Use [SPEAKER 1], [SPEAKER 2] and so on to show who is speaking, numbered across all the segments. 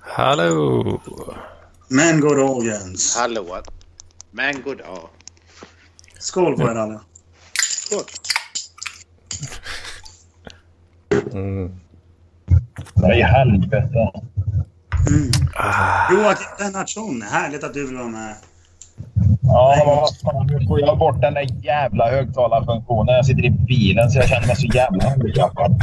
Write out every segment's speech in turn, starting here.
[SPEAKER 1] Hallå!
[SPEAKER 2] Men god dag Jens.
[SPEAKER 3] Hallå! Men god dag.
[SPEAKER 2] Skål på er alla.
[SPEAKER 3] Skål.
[SPEAKER 4] Mm. Nej, helvete.
[SPEAKER 2] Mm.
[SPEAKER 1] Ah,
[SPEAKER 2] Joakim Lennartsson, härligt att du vill vara med.
[SPEAKER 4] Ja, vad fan, nu får jag bort den där jävla högtalarfunktionen. Jag sitter i bilen så jag känner mig så jävla handikappad.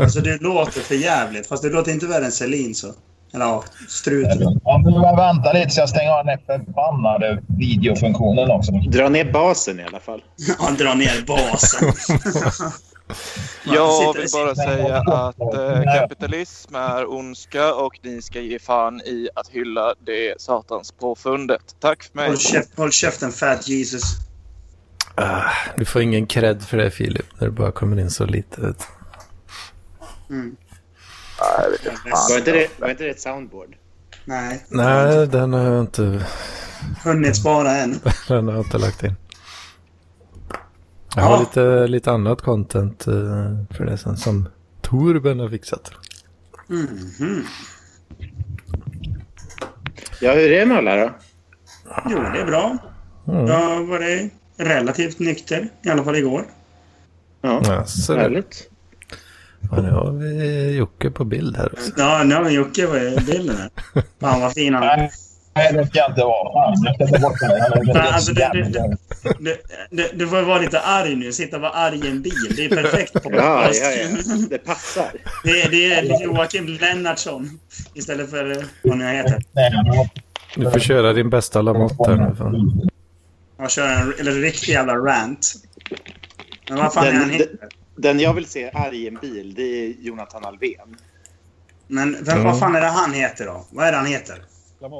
[SPEAKER 2] Alltså du låter för jävligt. Fast du låter inte värre än Celine så. Eller ja, struten.
[SPEAKER 4] Ja, men jag väntar lite så jag stänger av den där förbannade videofunktionen också.
[SPEAKER 3] Dra ner basen i alla fall.
[SPEAKER 2] Han drar ner basen.
[SPEAKER 5] Jag
[SPEAKER 2] sitter-
[SPEAKER 5] vill bara säga att eh, kapitalism är ondska och ni ska ge fan i att hylla det satans påfundet. Tack för mig.
[SPEAKER 2] Håll, käft, håll käften fat Jesus.
[SPEAKER 1] ah, du får ingen cred för det Filip, när du bara kommer in så lite. vet du.
[SPEAKER 2] Mm.
[SPEAKER 3] Var inte det, var inte det ett soundboard?
[SPEAKER 2] Nej,
[SPEAKER 1] Nej, den har jag inte,
[SPEAKER 2] hunnit spara än.
[SPEAKER 1] den har jag inte lagt in. Jag har
[SPEAKER 2] Ja.
[SPEAKER 1] lite, lite annat content eh, för det sen som Torben har fixat.
[SPEAKER 2] Mhm.
[SPEAKER 3] Ja, hur är det med alla då?
[SPEAKER 2] Jo, det är bra.
[SPEAKER 1] Mm.
[SPEAKER 2] Jag har varit relativt nykter. I alla fall igår.
[SPEAKER 3] Ja,
[SPEAKER 1] Ja, så det.
[SPEAKER 3] härligt.
[SPEAKER 1] Ja, nu har vi Jocke på bild här också.
[SPEAKER 2] Ja, nu har Jocke varit i bilden här. Fan vad fin han är.
[SPEAKER 4] Nej, det ska jag inte vara. Fan, jag ska ta bort den. Jag är
[SPEAKER 2] Nej, alltså,
[SPEAKER 4] så
[SPEAKER 2] det- det-
[SPEAKER 4] jävla-
[SPEAKER 2] Du, du, du får vara lite arg nu. Sitta och vara arg i en bil. Det är perfekt på
[SPEAKER 3] Ja,
[SPEAKER 2] podcast.
[SPEAKER 3] ja, ja. Det passar.
[SPEAKER 2] Det, är- det är Joakim Lennartsson istället för eh, vad nu heter.
[SPEAKER 4] Nej, jag har-
[SPEAKER 1] Du får köra din bästa Lamotte här nu. Fan.
[SPEAKER 2] Han kör en eller, riktig jävla rant. Men vad fan
[SPEAKER 3] Den-
[SPEAKER 2] är han heter?
[SPEAKER 3] Den jag vill se arg i en bil, det är Jonathan Alvén.
[SPEAKER 2] Men vem, vad fan är det han heter då? Vad är det han heter?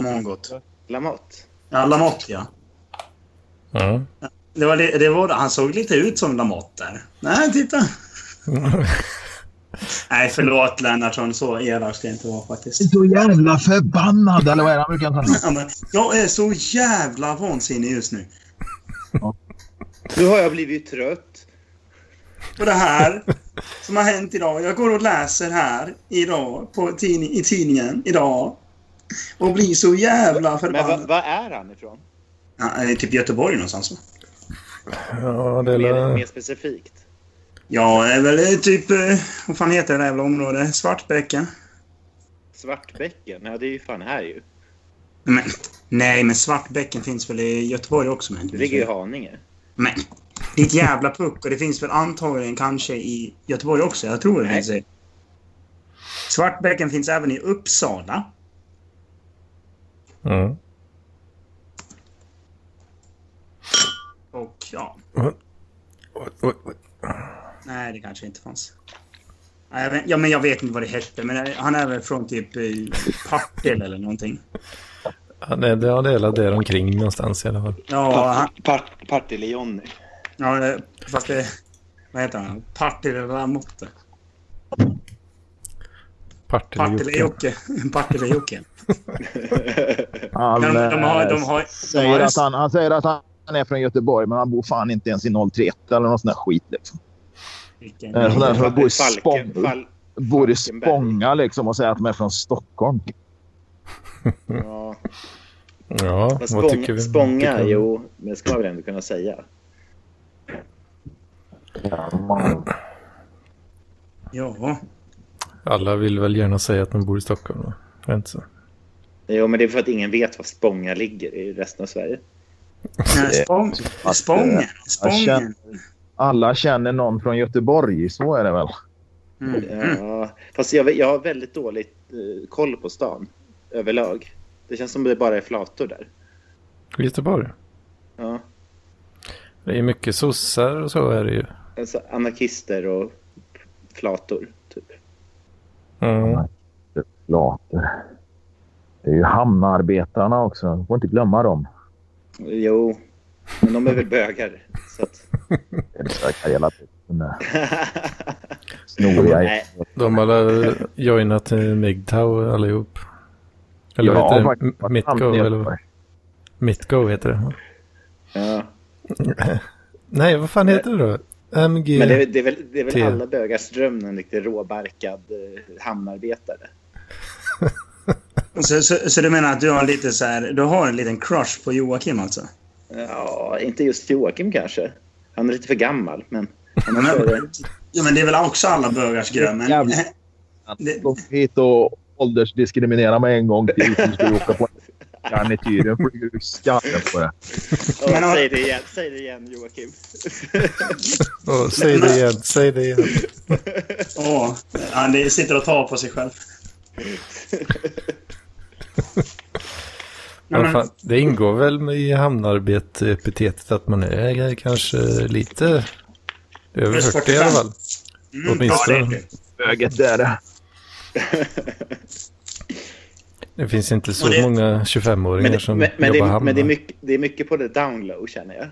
[SPEAKER 2] Mongot.
[SPEAKER 3] Lamotte.
[SPEAKER 2] Ja, Lamotte ja.
[SPEAKER 3] Mm.
[SPEAKER 1] Ja.
[SPEAKER 2] Det var, det, det var, han såg lite ut som Lamotte där. Nej, titta. Nej, förlåt Lennartsson. Så elak ska jag inte vara faktiskt.
[SPEAKER 4] Så jävla förbannad, eller vad är det han brukar säga?
[SPEAKER 2] Ja, men Jag är så jävla vansinnig just nu.
[SPEAKER 3] Nu har jag blivit trött.
[SPEAKER 2] på det här som har hänt idag. Jag går och läser här idag på tidning, i tidningen idag. Och blir så jävla
[SPEAKER 3] Men vad
[SPEAKER 2] förbannad.
[SPEAKER 3] vad är han ifrån?
[SPEAKER 2] Ja, det är typ Göteborg någonstans va?
[SPEAKER 1] Ja, det är
[SPEAKER 3] Mer,
[SPEAKER 1] la-
[SPEAKER 3] mer specifikt.
[SPEAKER 2] Ja, det är väl eh, typ... eh, Vad fan heter det där jävla området? Svartbäcken?
[SPEAKER 3] Svartbäcken? Ja, det är ju fan här ju.
[SPEAKER 2] Men, nej, men Svartbäcken finns väl i Göteborg också? Men,
[SPEAKER 3] Det ligger
[SPEAKER 1] Mm.
[SPEAKER 3] ju i Haninge.
[SPEAKER 2] men ditt jävla puck. Och det finns väl antagligen kanske i Göteborg också? Jag tror det
[SPEAKER 3] Nej.
[SPEAKER 2] finns i... Svartbäcken finns även i Uppsala.
[SPEAKER 1] Mm.
[SPEAKER 2] Och ja,
[SPEAKER 1] Oj, oj, oj.
[SPEAKER 2] Nej, det kanske inte fanns. Nej, jag vet- Ja, men jag vet inte vad det hette, men eh, han är väl från typ eh, Partille eller någonting.
[SPEAKER 1] Ja, det, det, ja, det är la där omkring någonstans i alla fall.
[SPEAKER 2] Ja, han,
[SPEAKER 3] Part- Partille-Johnny.
[SPEAKER 2] ja eh, fast det... Vad heter han? Partille Lamotte.
[SPEAKER 1] Partille-Jocke.
[SPEAKER 2] Partille-Jocke. Partille-Jocke.
[SPEAKER 4] Han,
[SPEAKER 2] De, de har... De har
[SPEAKER 4] eh, säger att han, han säger att han är från Göteborg, men han bor fan inte ens i 031 eller någon sån där skit. Liksom.
[SPEAKER 2] vilken-
[SPEAKER 4] Eh, Sådär, för han bor i
[SPEAKER 3] Falken-
[SPEAKER 4] Spång,
[SPEAKER 3] Fal-
[SPEAKER 4] bor i
[SPEAKER 3] Falkenberg.
[SPEAKER 4] Spånga liksom, och säger att de är från Stockholm.
[SPEAKER 3] Ja,
[SPEAKER 1] Mm. Ja,
[SPEAKER 3] men
[SPEAKER 1] vad
[SPEAKER 3] spång,
[SPEAKER 1] tycker vi?
[SPEAKER 3] Spånga,
[SPEAKER 1] tycker vi?
[SPEAKER 3] jo, men det ska man väl ändå kunna säga.
[SPEAKER 2] Ja.
[SPEAKER 1] Alla vill väl gärna säga att de bor i Stockholm, va? Är det inte så?
[SPEAKER 3] Jo, men det är för att ingen vet var Spånga ligger i resten av Sverige.
[SPEAKER 2] Eh, Spång, Spången.
[SPEAKER 4] eh,
[SPEAKER 2] Spången.
[SPEAKER 4] Alla känner någon från Göteborg, så är det väl?
[SPEAKER 2] Mm.
[SPEAKER 3] Ja, fast jag, jag har väldigt dåligt eh, koll på stan överlag. Det känns som det bara är flator där.
[SPEAKER 1] Göteborg.
[SPEAKER 3] Ja,
[SPEAKER 1] Det är mycket sossar och så är det ju.
[SPEAKER 3] alltså anarkister och flator, typ.
[SPEAKER 1] Mm.
[SPEAKER 4] Later. Det är ju hamnarbetarna också. Man får inte glömma dem.
[SPEAKER 3] Jo, men de är väl bögar. Så att...
[SPEAKER 4] Det är det säkert hela tiden. Snoriga
[SPEAKER 3] Nej,
[SPEAKER 1] De har alla joinat till MGTOW allihop. Eller
[SPEAKER 4] Ja,
[SPEAKER 1] vad heter det?
[SPEAKER 4] faktiskt.
[SPEAKER 1] M- Mitgo, eller vad? Mitgo heter det.
[SPEAKER 3] ja.
[SPEAKER 1] Nej, vad fan heter det då? MG.
[SPEAKER 3] Men det, är- det är väl, det är väl
[SPEAKER 1] Te.
[SPEAKER 3] alla bögars dröm, en riktigt råbarkad eh, hamnarbetare.
[SPEAKER 2] Så, så, så du menar att du har lite så här, du har en liten crush på Joakim alltså?
[SPEAKER 3] Ja, inte just Joakim kanske. Han är lite för gammal, men...
[SPEAKER 2] Men, ja, men det är väl också alla bögars dröm? men-
[SPEAKER 4] Jävlar.
[SPEAKER 2] Det-
[SPEAKER 4] Kom hit och åldersdiskriminera mig en gång till. så ska vi åka på garnityren. flyger ur skallen på det.
[SPEAKER 3] Ja,
[SPEAKER 2] Men-
[SPEAKER 3] säg, det igen, säg det igen, Joakim.
[SPEAKER 1] Åh, säg det igen, säg det igen.
[SPEAKER 2] Åh, han det sitter och tar på sig själv. Nej,
[SPEAKER 1] Vad
[SPEAKER 2] men,
[SPEAKER 1] fan, det ingår väl med- i hamnarbete-epitetet att man är kanske lite över 40 i alla fall.
[SPEAKER 2] mm, ja, det,
[SPEAKER 1] Åtminstone.
[SPEAKER 2] är det.
[SPEAKER 4] Böget där. det.
[SPEAKER 1] Det finns inte så
[SPEAKER 2] Och det-
[SPEAKER 1] många
[SPEAKER 3] Men,
[SPEAKER 1] 25-åringar
[SPEAKER 3] det,
[SPEAKER 1] som
[SPEAKER 3] men, men, det,
[SPEAKER 1] jobbar
[SPEAKER 3] är-
[SPEAKER 1] hamn.
[SPEAKER 3] men det, är mycket, det är mycket på det down low, känner jag.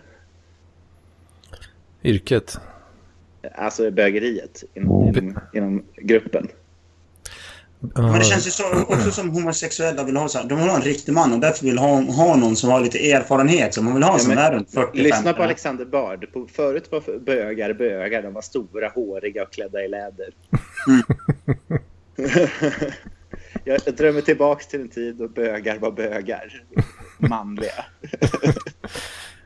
[SPEAKER 1] Yrket.
[SPEAKER 3] Alltså bögeriet inom, inom, inom gruppen.
[SPEAKER 2] men det känns ju så, också som homosexuella vill ha så här, de vill ha en riktig man och därför vill ha, ha någon som har lite erfarenhet. Som man vill ha
[SPEAKER 3] Ja,
[SPEAKER 2] som
[SPEAKER 3] men-
[SPEAKER 2] är runt 40
[SPEAKER 3] Lyssna på Alexander Bard. På, förut var bögar bögar. De var stora, håriga och klädda i läder. jag, jag drömmer tillbaka till en tid då bögar var bögar. Manliga.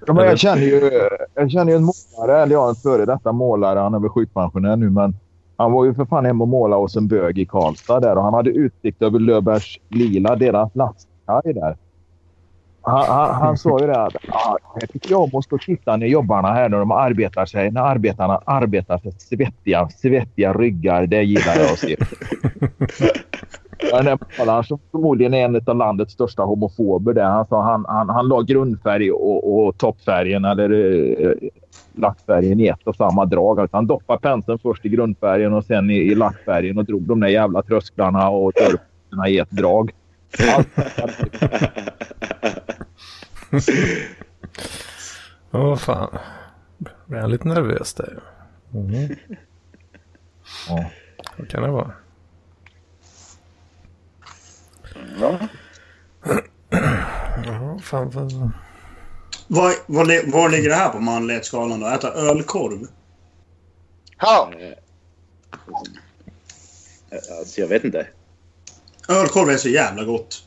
[SPEAKER 4] Ja, men jag, känner ju, jag känner ju en målare, eller ja, en före detta målare. Han är väl sjukpensionär nu, men han var ju för fan hemma och målade hos en bög i Karlstad där och han hade utsikt över Löfbergs Lila, deras lastkaj där. Han, han, han sa ju det att "Ja, här tycker jag måste titta när jobbarna här när de arbetar sig, när arbetarna arbetar för svettiga, svettiga ryggar. Det gillar jag att se. Ja, Den här målaren som förmodligen är en av landets största homofober. Där. Han, sa han, han, han la grundfärg och, och toppfärgen eller eh, lackfärgen i ett och samma drag. Alltså han doppade penseln först i grundfärgen och sen i, i lackfärgen och drog de där jävla trösklarna och dörrarna i ett drag. Allt
[SPEAKER 1] Åh fan. Blir han lite nervös där? Mm.
[SPEAKER 4] Ja.
[SPEAKER 1] Vad kan det vara? Ja, fan vad...
[SPEAKER 2] Var, var, li- var ligger det här på manlighetsskalan då? Äta ölkorv?
[SPEAKER 6] Ja,
[SPEAKER 3] Alltså, jag vet inte.
[SPEAKER 2] Ölkorv är så jävla gott.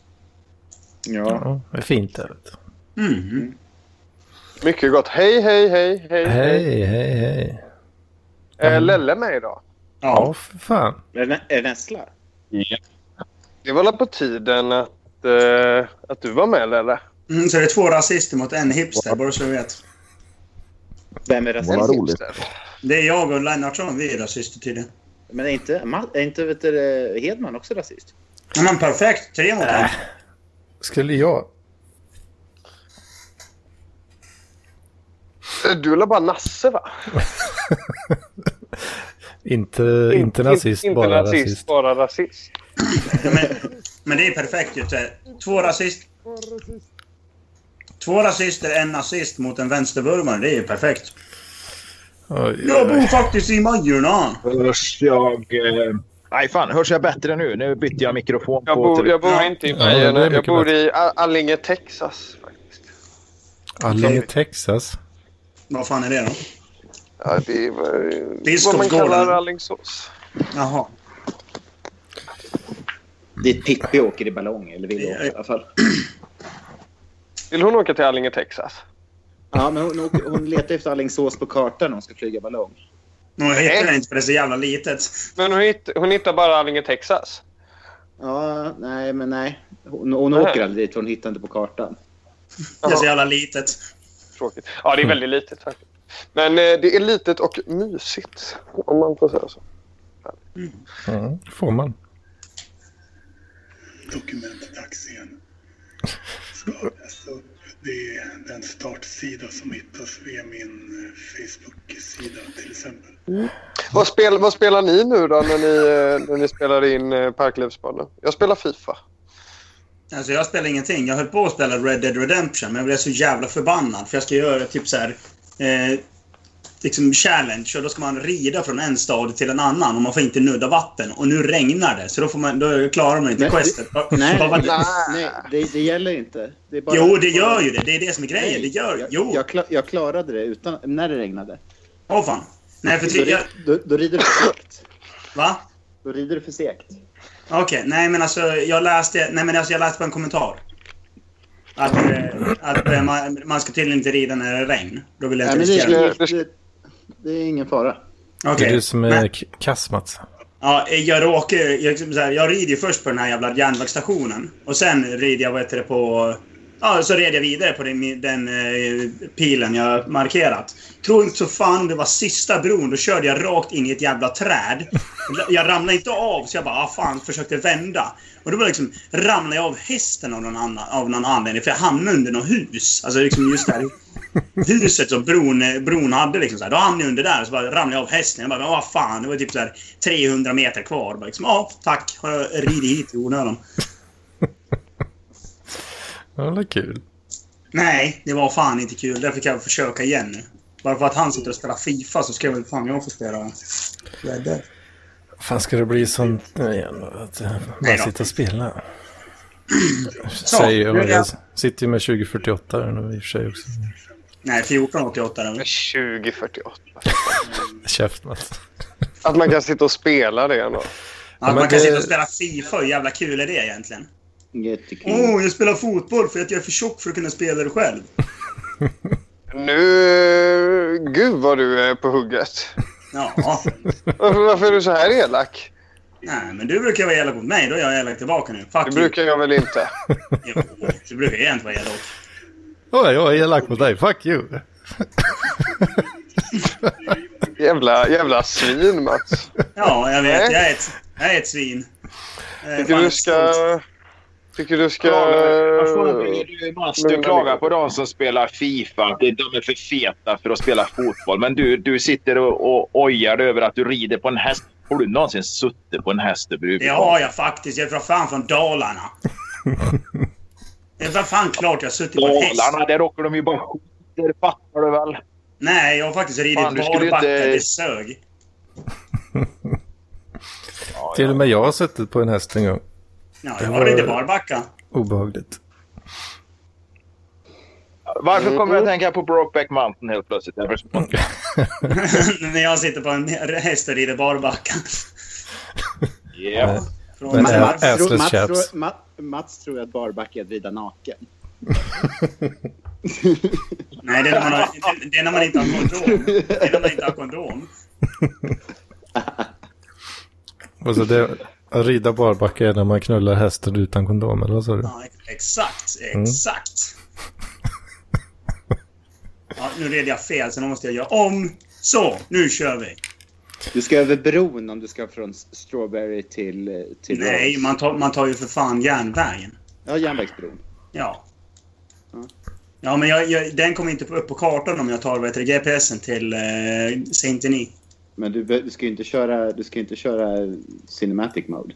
[SPEAKER 3] Ja.
[SPEAKER 1] Ja, det är fint där. vet du.
[SPEAKER 2] Mm.
[SPEAKER 7] Mycket gott. Hej, hej, hej, hej.
[SPEAKER 1] Hej, hej, hej.
[SPEAKER 7] Är Lelle med idag?
[SPEAKER 1] Ja,
[SPEAKER 2] Ja.
[SPEAKER 1] för fan.
[SPEAKER 3] Är det- är det Nessla?
[SPEAKER 7] Det var väl på tiden att, eh, att du var med, Lelle?
[SPEAKER 2] Mm, så det är två rasister mot en hipster, bara så du vet.
[SPEAKER 3] Vem är
[SPEAKER 4] Vad
[SPEAKER 3] rasist?
[SPEAKER 4] roligt.
[SPEAKER 2] Det är jag och Lennartsson, vi är rasister tydligen.
[SPEAKER 3] Men är inte, Ma- är inte vet du, Hedman också rasist?
[SPEAKER 2] Ja, Men perfekt, tre mot en.
[SPEAKER 1] Skulle jag...
[SPEAKER 7] Du la bara Nasse, va?
[SPEAKER 1] Inte, inte nazist,
[SPEAKER 7] inte
[SPEAKER 1] bara
[SPEAKER 7] nazist,
[SPEAKER 1] rasist.
[SPEAKER 7] bara rasist.
[SPEAKER 2] Ja, Men, men det är perfekt ju. så här. Två rasist... Två rasister, en nazist mot en vänstervurmare. Det är ju perfekt.
[SPEAKER 1] Oj,
[SPEAKER 2] Jag
[SPEAKER 1] oj,
[SPEAKER 2] bor faktiskt i Majorna.
[SPEAKER 4] Hörs jag... Eh... Nej, fan. Hörs jag bättre nu? Nu bytte jag mikrofon
[SPEAKER 7] Jag
[SPEAKER 4] på...
[SPEAKER 7] bor, jag bor
[SPEAKER 2] Ja.
[SPEAKER 7] inte i
[SPEAKER 1] Ja, det är
[SPEAKER 7] Majerna. jag
[SPEAKER 1] mycket
[SPEAKER 7] bor
[SPEAKER 1] bättre.
[SPEAKER 7] i A- Allinge, Texas. faktiskt.
[SPEAKER 1] Allinge, Texas.
[SPEAKER 2] Vad fan är det då?
[SPEAKER 7] Ja, det är vad- vad man
[SPEAKER 2] Biskopsgården.
[SPEAKER 7] kallar Alingsås.
[SPEAKER 2] Jaha.
[SPEAKER 3] Dit Pippi åker i ballong, eller vill åka i alla fall.
[SPEAKER 7] Vill hon åka till Allinge, Texas?
[SPEAKER 3] Ja, men hon, åker- hon letar efter Alingsås på kartan när hon ska flyga ballong.
[SPEAKER 2] Nu hittar jag inte för det är så jävla litet.
[SPEAKER 7] Men hon, hitt, hon hittar bara Allinge, Texas.
[SPEAKER 3] Ja, nej, men nej. Hon, hon
[SPEAKER 7] Nej.
[SPEAKER 3] åker aldrig dit, för hon hittar inte på kartan.
[SPEAKER 2] Det är så jävla litet. Mm.
[SPEAKER 7] Tråkigt. Ja, det är väldigt litet faktiskt. Men eh, det är litet och mysigt, om man får säga så.
[SPEAKER 1] Mm, får man.
[SPEAKER 8] Dokumentet Axén. Så, alltså, det är den startsida som hittas via min eh, Facebook-sida till exempel.
[SPEAKER 1] Mm.
[SPEAKER 7] Vad, spel, vad spelar ni nu då när ni, eh, när ni spelar in eh, Parklövsbanan? Jag spelar Fifa.
[SPEAKER 2] Alltså jag spelar ingenting. Jag höll på att spela Red Dead Redemption, men jag blev så jävla förbannad. För jag ska göra typ så här... Eh, liksom challenge. Och då ska man rida från en stad till en annan och man får inte nudda vatten. Och nu regnar det, så då, får man, då klarar man inte
[SPEAKER 3] Men-
[SPEAKER 2] questet.
[SPEAKER 3] Nej,
[SPEAKER 2] Vad var det?
[SPEAKER 3] nej det, det gäller inte. Det är bara,
[SPEAKER 2] Jo, det gör ju det. Det är det som är grejen.
[SPEAKER 3] Nej,
[SPEAKER 2] det gör...
[SPEAKER 3] jag,
[SPEAKER 2] Jo!
[SPEAKER 3] Jag, kla- jag klarade det utan, när det regnade.
[SPEAKER 2] Åh fan. Nej, för ty- jag,
[SPEAKER 3] Då, då rider du för segt.
[SPEAKER 2] Va?
[SPEAKER 3] Då rider du för segt.
[SPEAKER 2] Okej, nej men alltså jag läste, nej, men alltså, jag läste på en kommentar. Att, eh, att eh, man, man ska tydligen inte rida när det är regn. Då vill jag
[SPEAKER 3] Nej,
[SPEAKER 2] inte
[SPEAKER 3] men
[SPEAKER 2] riskera det.
[SPEAKER 7] skulle-
[SPEAKER 3] det, det, det är ingen fara.
[SPEAKER 1] Det är
[SPEAKER 2] Okej.
[SPEAKER 1] du som är
[SPEAKER 2] Men,
[SPEAKER 1] k- kass Mats.
[SPEAKER 2] ja, jag råkar ju- jag, liksom så här, jag rider ju först på den här jävla järnvägsstationen. Och sen rider jag vad heter det, på... Ja, så red jag vidare på den, den eh, pilen jag markerat. Tror inte så fan det var sista bron, då körde jag rakt in i ett jävla träd. Jag ramlade inte av, så jag bara ah, fan, försökte vända. Och då var det liksom, ramlade jag av hästen av någon, annan, av någon anledning, för jag hamnade under något hus. Alltså liksom just där huset som bron, bron hade. Liksom, så här. Då hamnade jag under där och så bara ramlade jag av hästen. Jag bara, men vad fan, det var typ så här 300 meter kvar. Bara, liksom, ja, tack, har jag ridit hit i onödan?
[SPEAKER 1] Ja, det är kul.
[SPEAKER 2] Nej, det var fan inte kul. Därför kan jag försöka igen nu. Bara för att han sitter och spelar Fifa så ska väl fan jag få spela Red Dead.
[SPEAKER 1] Fan ska det bli sånt nu igen? Att eh, bara
[SPEAKER 2] Nej då.
[SPEAKER 1] sitta och spela. Säger jag.
[SPEAKER 2] nu
[SPEAKER 1] men
[SPEAKER 2] är jag-
[SPEAKER 1] Jag sitter ju med 2048 här nu i och för sig också.
[SPEAKER 2] Nej, 1488 då.
[SPEAKER 7] 2048.
[SPEAKER 1] Käft Mats.
[SPEAKER 7] Att man kan sitta och spela det ändå.
[SPEAKER 2] Att
[SPEAKER 1] men
[SPEAKER 2] man kan
[SPEAKER 1] det-
[SPEAKER 2] sitta och spela Fifa, hur jävla kul är det egentligen?
[SPEAKER 3] Jättekul.
[SPEAKER 7] Mm.
[SPEAKER 2] Åh, oh, jag spelar fotboll för att jag är för tjock för att kunna spela det själv.
[SPEAKER 7] Nu... eh, Gud vad du är på hugget.
[SPEAKER 2] Ja.
[SPEAKER 7] Varför, varför är du så här elak?
[SPEAKER 2] Nej, men du brukar vara elak mot mig. Då är jag elak tillbaka nu. Fuck
[SPEAKER 7] Det
[SPEAKER 2] you.
[SPEAKER 7] brukar jag väl inte.
[SPEAKER 2] Jo, du brukar jag inte vara elak.
[SPEAKER 1] Åh, jag är elak mot dig. Fuck you.
[SPEAKER 7] Jävla, jävla svin, Mats.
[SPEAKER 2] Ja, jag vet.
[SPEAKER 7] Nej.
[SPEAKER 2] Jag är ett, jag är ett svin. Eh,
[SPEAKER 7] Tycker
[SPEAKER 2] fan,
[SPEAKER 7] du ska... Tycker du ska...
[SPEAKER 1] eh,
[SPEAKER 9] Du eh, klagar på de som spelar Fifa, att de är för feta för att spela fotboll. Men du, du sitter och, och ojar dig över att du rider på en häst. Har du någonsin suttit på en häst
[SPEAKER 2] Det
[SPEAKER 9] överhuvudtaget?
[SPEAKER 2] har jag faktiskt. Jag är för fan från Dalarna. Det är för fan klart jag har suttit på en häst.
[SPEAKER 9] Dalarna, där åker de ju bara skiter, fattar du väl?
[SPEAKER 2] Nej, jag har faktiskt ridit
[SPEAKER 9] Fan, du skulle ju
[SPEAKER 2] barbacka
[SPEAKER 9] inte-
[SPEAKER 2] till Sög.
[SPEAKER 1] Till och med jag har suttit på en häst en gång.
[SPEAKER 2] Ja,
[SPEAKER 1] Det
[SPEAKER 2] jag
[SPEAKER 1] var-
[SPEAKER 2] har ridit barbacka.
[SPEAKER 1] Obehagligt.
[SPEAKER 9] Varför kommer jag att tänka på Brokeback Mountain helt plötsligt? Jag förstår inte.
[SPEAKER 2] När jag sitter på en häst och rider barbacka.
[SPEAKER 9] Yeah.
[SPEAKER 2] Från
[SPEAKER 1] Men,
[SPEAKER 2] Mats-
[SPEAKER 1] äh,
[SPEAKER 3] tror,
[SPEAKER 1] Assless
[SPEAKER 3] Mats,
[SPEAKER 1] chaps.
[SPEAKER 3] tror, Mats, Mats tror att barbacka är att rida naken.
[SPEAKER 2] Nej, det är, när man har, det- det är när man inte har
[SPEAKER 3] Mm.
[SPEAKER 2] kondom. Det är när man inte har kondom.
[SPEAKER 1] Alltså det, att rida barbacka är när man knullar hästen utan kondom, eller vad sa du? Mm.
[SPEAKER 2] Ja, exakt, exakt. Ja, nu red jag fel, så nu måste jag göra om. Så, nu kör vi.
[SPEAKER 3] Du ska över bron om du ska från s- Strawberry till... eh, till
[SPEAKER 2] Nej,
[SPEAKER 3] Rhodes.
[SPEAKER 2] man tar, man tar ju för fan järnvägen.
[SPEAKER 3] Ja, järnvägsbron.
[SPEAKER 2] Ja.
[SPEAKER 3] Mm.
[SPEAKER 2] Ja, men jag, jag, den kommer inte upp på kartan om jag tar vad heter det, GPSen till eh, Saint Denis.
[SPEAKER 3] Men du, be- du ska ju inte köra, du ska ju inte köra cinematic mode.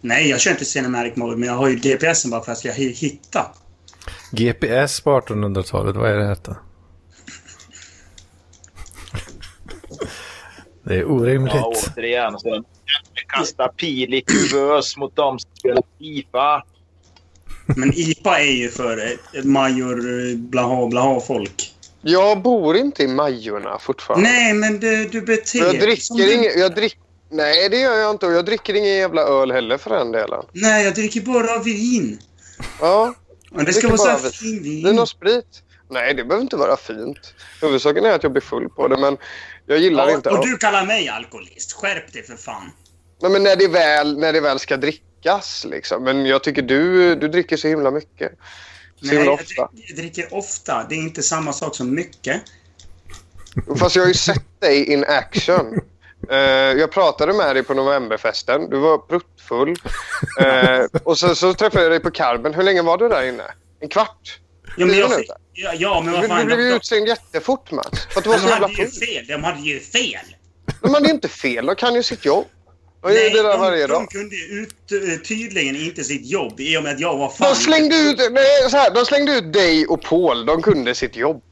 [SPEAKER 2] Nej, jag kör inte Cinematic Mode, men jag har ju GPSen bara för att jag ska hi- hitta.
[SPEAKER 1] GPS på 1800-talet, vad är det detta? Det är
[SPEAKER 9] Ja,
[SPEAKER 1] orimligt.
[SPEAKER 9] återigen. Så kasta pil i kuvös mot dem som spelar Fifa.
[SPEAKER 2] Men IPA är ju för eh, Major eh, blaha blaha folk.
[SPEAKER 7] Jag bor inte i Majorna fortfarande.
[SPEAKER 2] Nej, men du, du beter
[SPEAKER 7] jag
[SPEAKER 2] dig som
[SPEAKER 7] dricker
[SPEAKER 2] du-
[SPEAKER 7] ingen... Jag drick, nej, det gör jag inte. Och jag dricker ingen jävla öl heller för den delen.
[SPEAKER 2] Nej, jag dricker bara vin.
[SPEAKER 7] Ja,
[SPEAKER 2] Men det ska
[SPEAKER 7] Dricker
[SPEAKER 2] vara så här
[SPEAKER 7] bara vin.
[SPEAKER 2] fin
[SPEAKER 7] vin
[SPEAKER 2] vin.
[SPEAKER 7] och sprit. Nej, det behöver inte vara fint. Huvudsaken är att jag blir full på det, men jag gillar inte
[SPEAKER 2] Och,
[SPEAKER 7] öl.
[SPEAKER 2] och du kallar mig alkoholist. Skärp dig för fan.
[SPEAKER 7] Nej, men när det väl, när det väl ska drickas liksom. Men jag tycker du, du dricker så himla mycket. Så
[SPEAKER 2] Nej,
[SPEAKER 7] himla
[SPEAKER 2] jag,
[SPEAKER 7] ofta.
[SPEAKER 2] dricker, jag dricker ofta. Det är inte samma sak som mycket.
[SPEAKER 7] Fast jag har ju sett dig in action. Eh, jag pratade med dig på novemberfesten. Du var pruttfull. Eh, och sen så träffade jag dig på Carmen. Hur länge var du där inne? En kvart?
[SPEAKER 2] Ja, men,
[SPEAKER 7] Tio
[SPEAKER 2] jag, fick-
[SPEAKER 7] minuter?
[SPEAKER 2] ja, ja, men vad
[SPEAKER 7] Du, du
[SPEAKER 2] fan. De,
[SPEAKER 7] blev ju
[SPEAKER 2] de,
[SPEAKER 7] utslängd jättefort Mats. För att du var
[SPEAKER 2] de
[SPEAKER 7] så jävla
[SPEAKER 2] hade ju
[SPEAKER 7] full.
[SPEAKER 2] fel. De hade ju fel.
[SPEAKER 7] Men det är inte fel. De kan ju sitt jobb. De gör ju det där varje
[SPEAKER 2] de, de
[SPEAKER 7] dag.
[SPEAKER 2] kunde ju ut, eh, tydligen inte sitt jobb i och med att jag var fan...
[SPEAKER 7] De slängde, ut, nej, så här, de slängde ut dig och Paul. De kunde sitt jobb.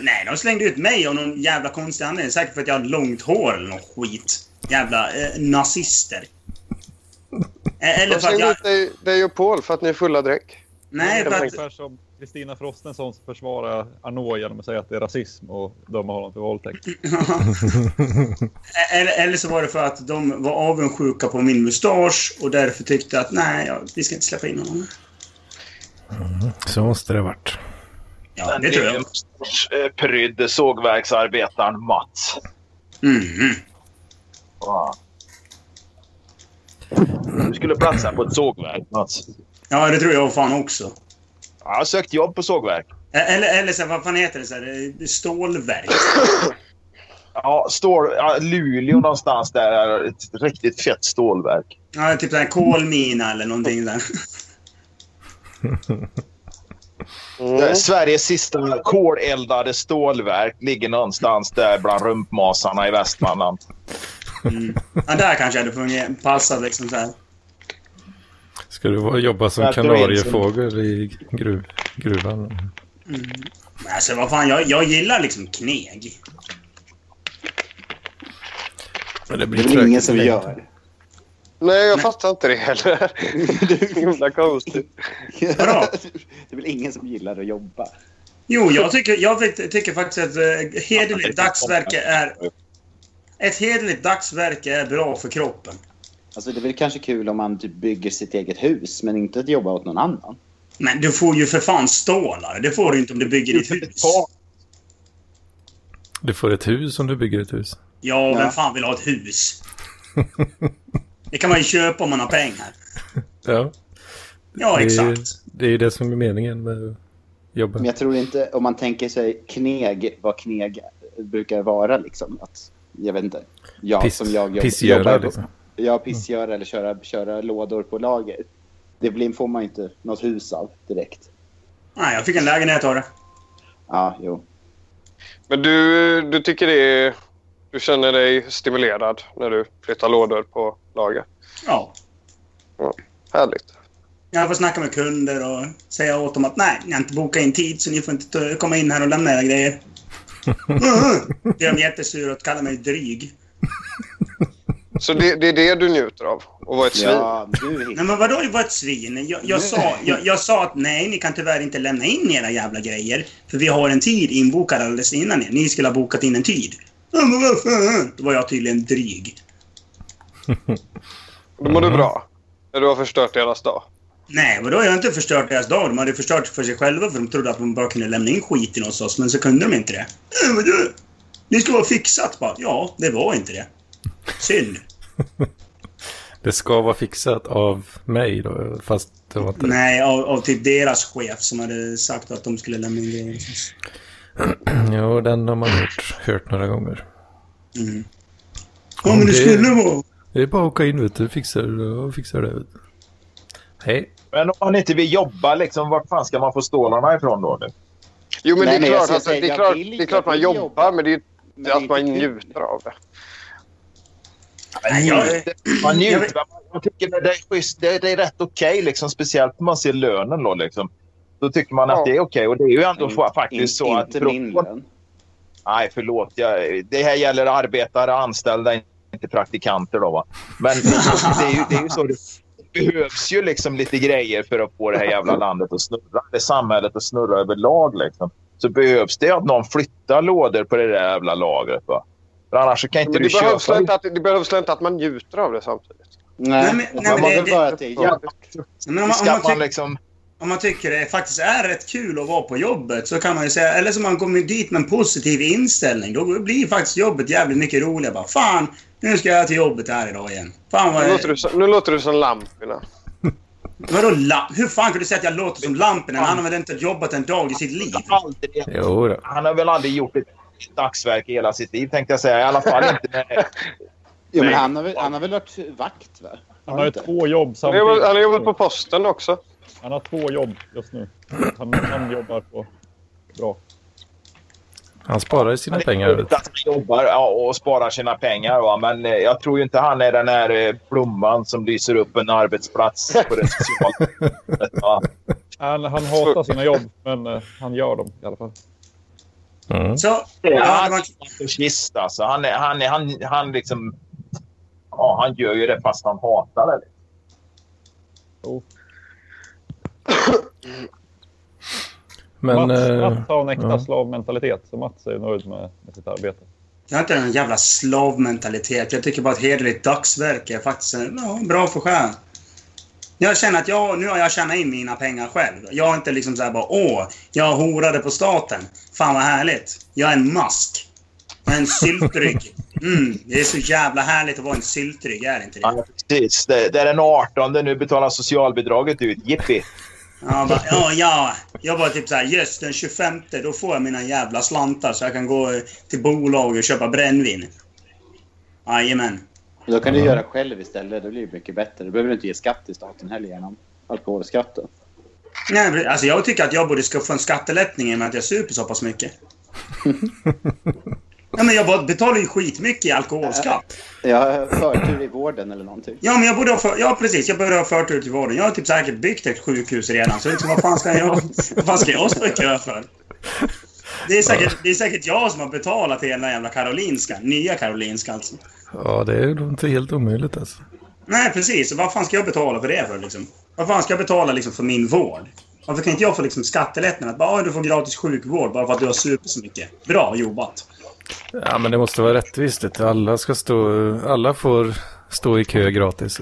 [SPEAKER 2] Nej, de slängde ut mig av någon jävla konstig anledning. Säkert för att jag har långt hår eller något skit. Jävla eh, nazister. Eh, Eller
[SPEAKER 7] De
[SPEAKER 2] Eh, för att
[SPEAKER 7] slängde
[SPEAKER 2] jag...
[SPEAKER 7] ut dig, dig och Paul för att ni är fulla dräck.
[SPEAKER 2] Nej, för att...
[SPEAKER 10] Ungefär som
[SPEAKER 5] Kristina Frostenson som försvarar Arnault genom att säga att det är rasism och döma honom för våldtäkt.
[SPEAKER 2] eller, eller så var det för att de var avundsjuka på min mustasch och därför tyckte att nej, ja, vi ska inte släppa in honom.
[SPEAKER 1] Mhm, Så måste det varit.
[SPEAKER 2] Ja, det tror jag.
[SPEAKER 4] Eh, Prydde sågverksarbetaren Mats.
[SPEAKER 2] Mm.
[SPEAKER 4] Fan. Du skulle platsa på ett sågverk Mats.
[SPEAKER 2] Ja, det tror jag fan också.
[SPEAKER 4] Jag har sökt jobb på sågverk.
[SPEAKER 2] E- Eller, eller så här, vad fan heter det? Så här, eh, stålverk.
[SPEAKER 4] Ja, stål, ja, Luleå någonstans där är ett riktigt fett stålverk.
[SPEAKER 2] Ja, typ så här kolmina eller någonting där.
[SPEAKER 4] Där Sveriges sista koleldade stålverk ligger någonstans där bland rumpmasarna i Västmanland.
[SPEAKER 2] Mm. Ja, där kanske hade fungerat. Passat liksom så här.
[SPEAKER 1] Ska du vara- jobba som
[SPEAKER 4] Jag tror
[SPEAKER 1] kanariefågel i gruv, gruvan?
[SPEAKER 2] Men Alltså vad fan, jag, jag gillar liksom kneg.
[SPEAKER 1] Men det
[SPEAKER 3] Det
[SPEAKER 1] blir
[SPEAKER 3] är väl ingen
[SPEAKER 1] trögt.
[SPEAKER 3] som gör.
[SPEAKER 7] Nej, jag fattar inte det heller. Det är himla konstigt.
[SPEAKER 2] Vadå?
[SPEAKER 3] Det är väl ingen som gillar att jobba.
[SPEAKER 2] Jo, jag tycker, jag vet- tycker faktiskt att eh, hederligt dagsverke är... Ett hederligt dagsverke är bra för kroppen.
[SPEAKER 3] Alltså det är väl kanske kul om man typ bygger sitt eget hus, men inte att jobba åt någon annan.
[SPEAKER 2] Men du får ju för fan stålar. Det får du inte om du bygger ditt hus.
[SPEAKER 1] Du får ett hus om du bygger ett hus.
[SPEAKER 2] Ja,
[SPEAKER 3] Ja.
[SPEAKER 2] vem fan vill ha ett hus? Det kan man ju köpa om man har pengar.
[SPEAKER 1] Ja,
[SPEAKER 2] Ja,
[SPEAKER 1] Det är-
[SPEAKER 2] exakt.
[SPEAKER 1] det är ju det som är meningen med att jobba.
[SPEAKER 3] Men jag tror inte, om man tänker sig kneg, vad kneg brukar vara liksom. Att, jag vet inte. Jag
[SPEAKER 1] Piss-
[SPEAKER 3] som jag jobb,
[SPEAKER 1] pissgöra,
[SPEAKER 3] jobbar på-
[SPEAKER 1] liksom.
[SPEAKER 3] Ja, pissgöra eller köra, köra lådor på lager. Det blir, får man ju inte något hus av direkt.
[SPEAKER 2] Nej, jag fick en lägenhet av det.
[SPEAKER 3] Ja, jo.
[SPEAKER 7] Men du, du tycker det är... Du känner dig stimulerad när du flyttar lådor på lager.
[SPEAKER 2] Ja.
[SPEAKER 7] Härligt.
[SPEAKER 2] Jag får snacka med kunder och säga åt dem att nej, ni har inte bokat in tid så ni får inte ta- komma in här och lämna era grejer. Mm. Blir de jättesura och kallar mig dryg.
[SPEAKER 7] Så det, det är det du njuter av? Att vara ett svin?
[SPEAKER 3] Ja, nu
[SPEAKER 2] Nej,
[SPEAKER 3] hittar
[SPEAKER 2] men vadå, det var ett svin? Jag, jag, sa, jag, jag sa att nej, ni kan tyvärr inte lämna in era jävla grejer för vi har en tid inbokad alldeles innan er. Ni skulle ha bokat in en tid. Ja, men vad fan? Då var jag tydligen dryg.
[SPEAKER 7] Då mår du bra. När du har förstört deras dag.
[SPEAKER 2] Nej, vadå? Jag har inte förstört deras dag. De hade förstört för sig själva för de trodde att de bara kunde lämna in skiten hos oss, men så kunde de inte det. Äh, vadå? Det ska vara fixat bara. Ja, det var inte det. Synd.
[SPEAKER 1] Det ska vara fixat av mig då, fast det var inte...
[SPEAKER 2] Nej, av, av typ deras chef som hade sagt att de skulle lämna in grejer.
[SPEAKER 1] Jo, den har man hört, hört några gånger.
[SPEAKER 2] Mm. Ja, men det
[SPEAKER 1] Det-
[SPEAKER 2] skulle vara...
[SPEAKER 1] Det är bara att åka in vet du, fixar det och fixar det. Vet du. Hej.
[SPEAKER 4] Men om man inte vill jobba, liksom, vart fan ska man få stålarna ifrån då? Nu?
[SPEAKER 7] Jo, men
[SPEAKER 3] Nej,
[SPEAKER 7] det är
[SPEAKER 3] men jag
[SPEAKER 7] klart
[SPEAKER 3] ska
[SPEAKER 7] att
[SPEAKER 3] säga,
[SPEAKER 7] det är
[SPEAKER 3] jag
[SPEAKER 7] klart,
[SPEAKER 3] vill inte,
[SPEAKER 7] det är klart
[SPEAKER 3] jag
[SPEAKER 7] man
[SPEAKER 3] vill
[SPEAKER 7] jobbar,
[SPEAKER 3] jobba.
[SPEAKER 7] men det är ju
[SPEAKER 3] Men
[SPEAKER 7] inte
[SPEAKER 3] det är
[SPEAKER 7] att man
[SPEAKER 3] inte kul.
[SPEAKER 7] njuter av det.
[SPEAKER 2] Nej, jag,
[SPEAKER 4] Man
[SPEAKER 2] Jag
[SPEAKER 4] njuter.
[SPEAKER 2] vet-
[SPEAKER 4] Jag tycker det, det, är schysst, det, det är rätt okej, liksom, speciellt när man ser lönen. Då, liksom. då tycker man att
[SPEAKER 7] Ja.
[SPEAKER 4] det är okej. Och det är ju ändå
[SPEAKER 3] jag-
[SPEAKER 4] faktiskt
[SPEAKER 3] in-
[SPEAKER 4] så att...
[SPEAKER 3] Inte min lön.
[SPEAKER 4] Nej, förlåt. Jag, det här gäller arbetare, anställda, inte praktikanter. Då, va? Men det är ju, det är ju så. Det behövs ju liksom lite grejer för att få det här jävla landet att snurra. Det samhället att snurra överlag. Liksom. Så behövs det att någon flyttar lådor på det där jävla lagret. Va? För annars så kan inte
[SPEAKER 7] Men
[SPEAKER 4] du
[SPEAKER 7] det behövs, väl
[SPEAKER 4] köpa
[SPEAKER 7] inte att, det behövs väl inte att man njuter av det samtidigt?
[SPEAKER 3] Nej,
[SPEAKER 2] men- nej,
[SPEAKER 3] man
[SPEAKER 2] men
[SPEAKER 3] var
[SPEAKER 2] det-
[SPEAKER 3] väl
[SPEAKER 2] det-
[SPEAKER 3] bara att det är jobbigt.
[SPEAKER 2] men om, man- om,
[SPEAKER 4] Ska
[SPEAKER 2] man
[SPEAKER 4] man
[SPEAKER 2] tyck,
[SPEAKER 4] liksom...
[SPEAKER 2] om man tycker det faktiskt är rätt kul att vara på jobbet så kan man ju säga, eller så man kommer dit med en positiv inställning, då blir faktiskt jobbet jävligt mycket roligare. Bara, fan, nu ska jag till jobbet här idag igen. Fan vad
[SPEAKER 7] Nu låter du, som- nu låter du som Lampinen.
[SPEAKER 2] Vadå la- Hur fan kan du säga att jag låter som Lampinen? Han har väl inte jobbat en dag i sitt liv?
[SPEAKER 4] Aldrig,
[SPEAKER 1] Jo då.
[SPEAKER 4] han har väl aldrig gjort ett dagsverk i hela sitt liv, tänkte jag säga. I alla fall inte med
[SPEAKER 3] Jo, men
[SPEAKER 4] Nej.
[SPEAKER 3] han har, väl, han har väl varit vakt, va?
[SPEAKER 5] Han har ju
[SPEAKER 3] inte?
[SPEAKER 5] två jobb
[SPEAKER 7] Han har jobbat- han har jobbat på
[SPEAKER 5] samtidigt.
[SPEAKER 7] posten också.
[SPEAKER 5] Han har två jobb just nu. Han, han jobbar på... Bra.
[SPEAKER 1] Han sparar ju sina
[SPEAKER 4] Det är
[SPEAKER 1] pengar. Vet
[SPEAKER 4] roligt
[SPEAKER 1] du.
[SPEAKER 4] Att han jobbar ja, och sparar sina pengar. Va? Men eh, jag tror ju inte han är den här eh, blomman som lyser upp en arbetsplats på det sociala. ja.
[SPEAKER 5] Han, han hatar sina jobb, men eh, han gör dem i alla fall.
[SPEAKER 1] Mm.
[SPEAKER 2] Så, ja,
[SPEAKER 4] Han
[SPEAKER 2] det var,
[SPEAKER 4] är en kist, alltså. Han, är- han, är- han, han liksom... Ja, han gör ju det fast han hatar det.
[SPEAKER 1] Men,
[SPEAKER 5] Mats,
[SPEAKER 1] eh,
[SPEAKER 5] Mats har en äkta
[SPEAKER 1] ja.
[SPEAKER 5] slavmentalitet, så Mats är ju nöjd med, med sitt arbete.
[SPEAKER 2] Jag har inte någon jävla slavmentalitet. Jag tycker bara att hederligt dagsverke är faktiskt en, ja, bra för själen. Jag känner att jag, nu har jag tjänat in mina pengar själv. Jag är inte liksom så här bara åh, jag horade på staten. Fan vad härligt. Jag är en mask. Jag är en syltrygg. Mm, det är så jävla härligt att vara en syltrygg, är det inte det?
[SPEAKER 4] Ja, precis. Det, det är den 18 nu betalar socialbidraget ut. Jippi!
[SPEAKER 2] Ja, bara, ja, ja. Jag bara typ så här, yes, den 25 då får jag mina jävla slantar så jag kan gå eh, till bolag och köpa brännvin. Jajamän.
[SPEAKER 3] Då kan du göra själv istället. Det blir mycket bättre. Då behöver du inte ge skatt till staten heller genom alkoholskatten.
[SPEAKER 2] Nej, men alltså jag tycker att jag borde ska få en skattelättning i och med att jag super så pass mycket. ja, men jag bara betalar ju skitmycket i alkoholskatt.
[SPEAKER 3] Jag har förtur i vården eller någonting.
[SPEAKER 2] Ja, men jag borde ha för, ja, precis. Jag borde ha förtur till vården. Jag har typ säkert byggt ett sjukhus redan, så liksom, vad, fan ska jag, vad fan ska jag stå i kö för? Det är, säkert, det är säkert jag som har betalat hela jävla Karolinska. Nya Karolinska alltså.
[SPEAKER 1] Ja, det är ju inte helt omöjligt alltså.
[SPEAKER 2] Nej, precis. Och Vad fan ska jag betala för det för? Liksom? Vad fan ska jag betala liksom, för min vård? Varför kan inte jag få liksom, skattelättnad? Att bara, "Ah, du får gratis sjukvård bara för att du har supit så mycket. Bra jobbat.
[SPEAKER 1] Ja, men det måste vara rättvist. det. Alla, ska stå, alla får stå i kö gratis.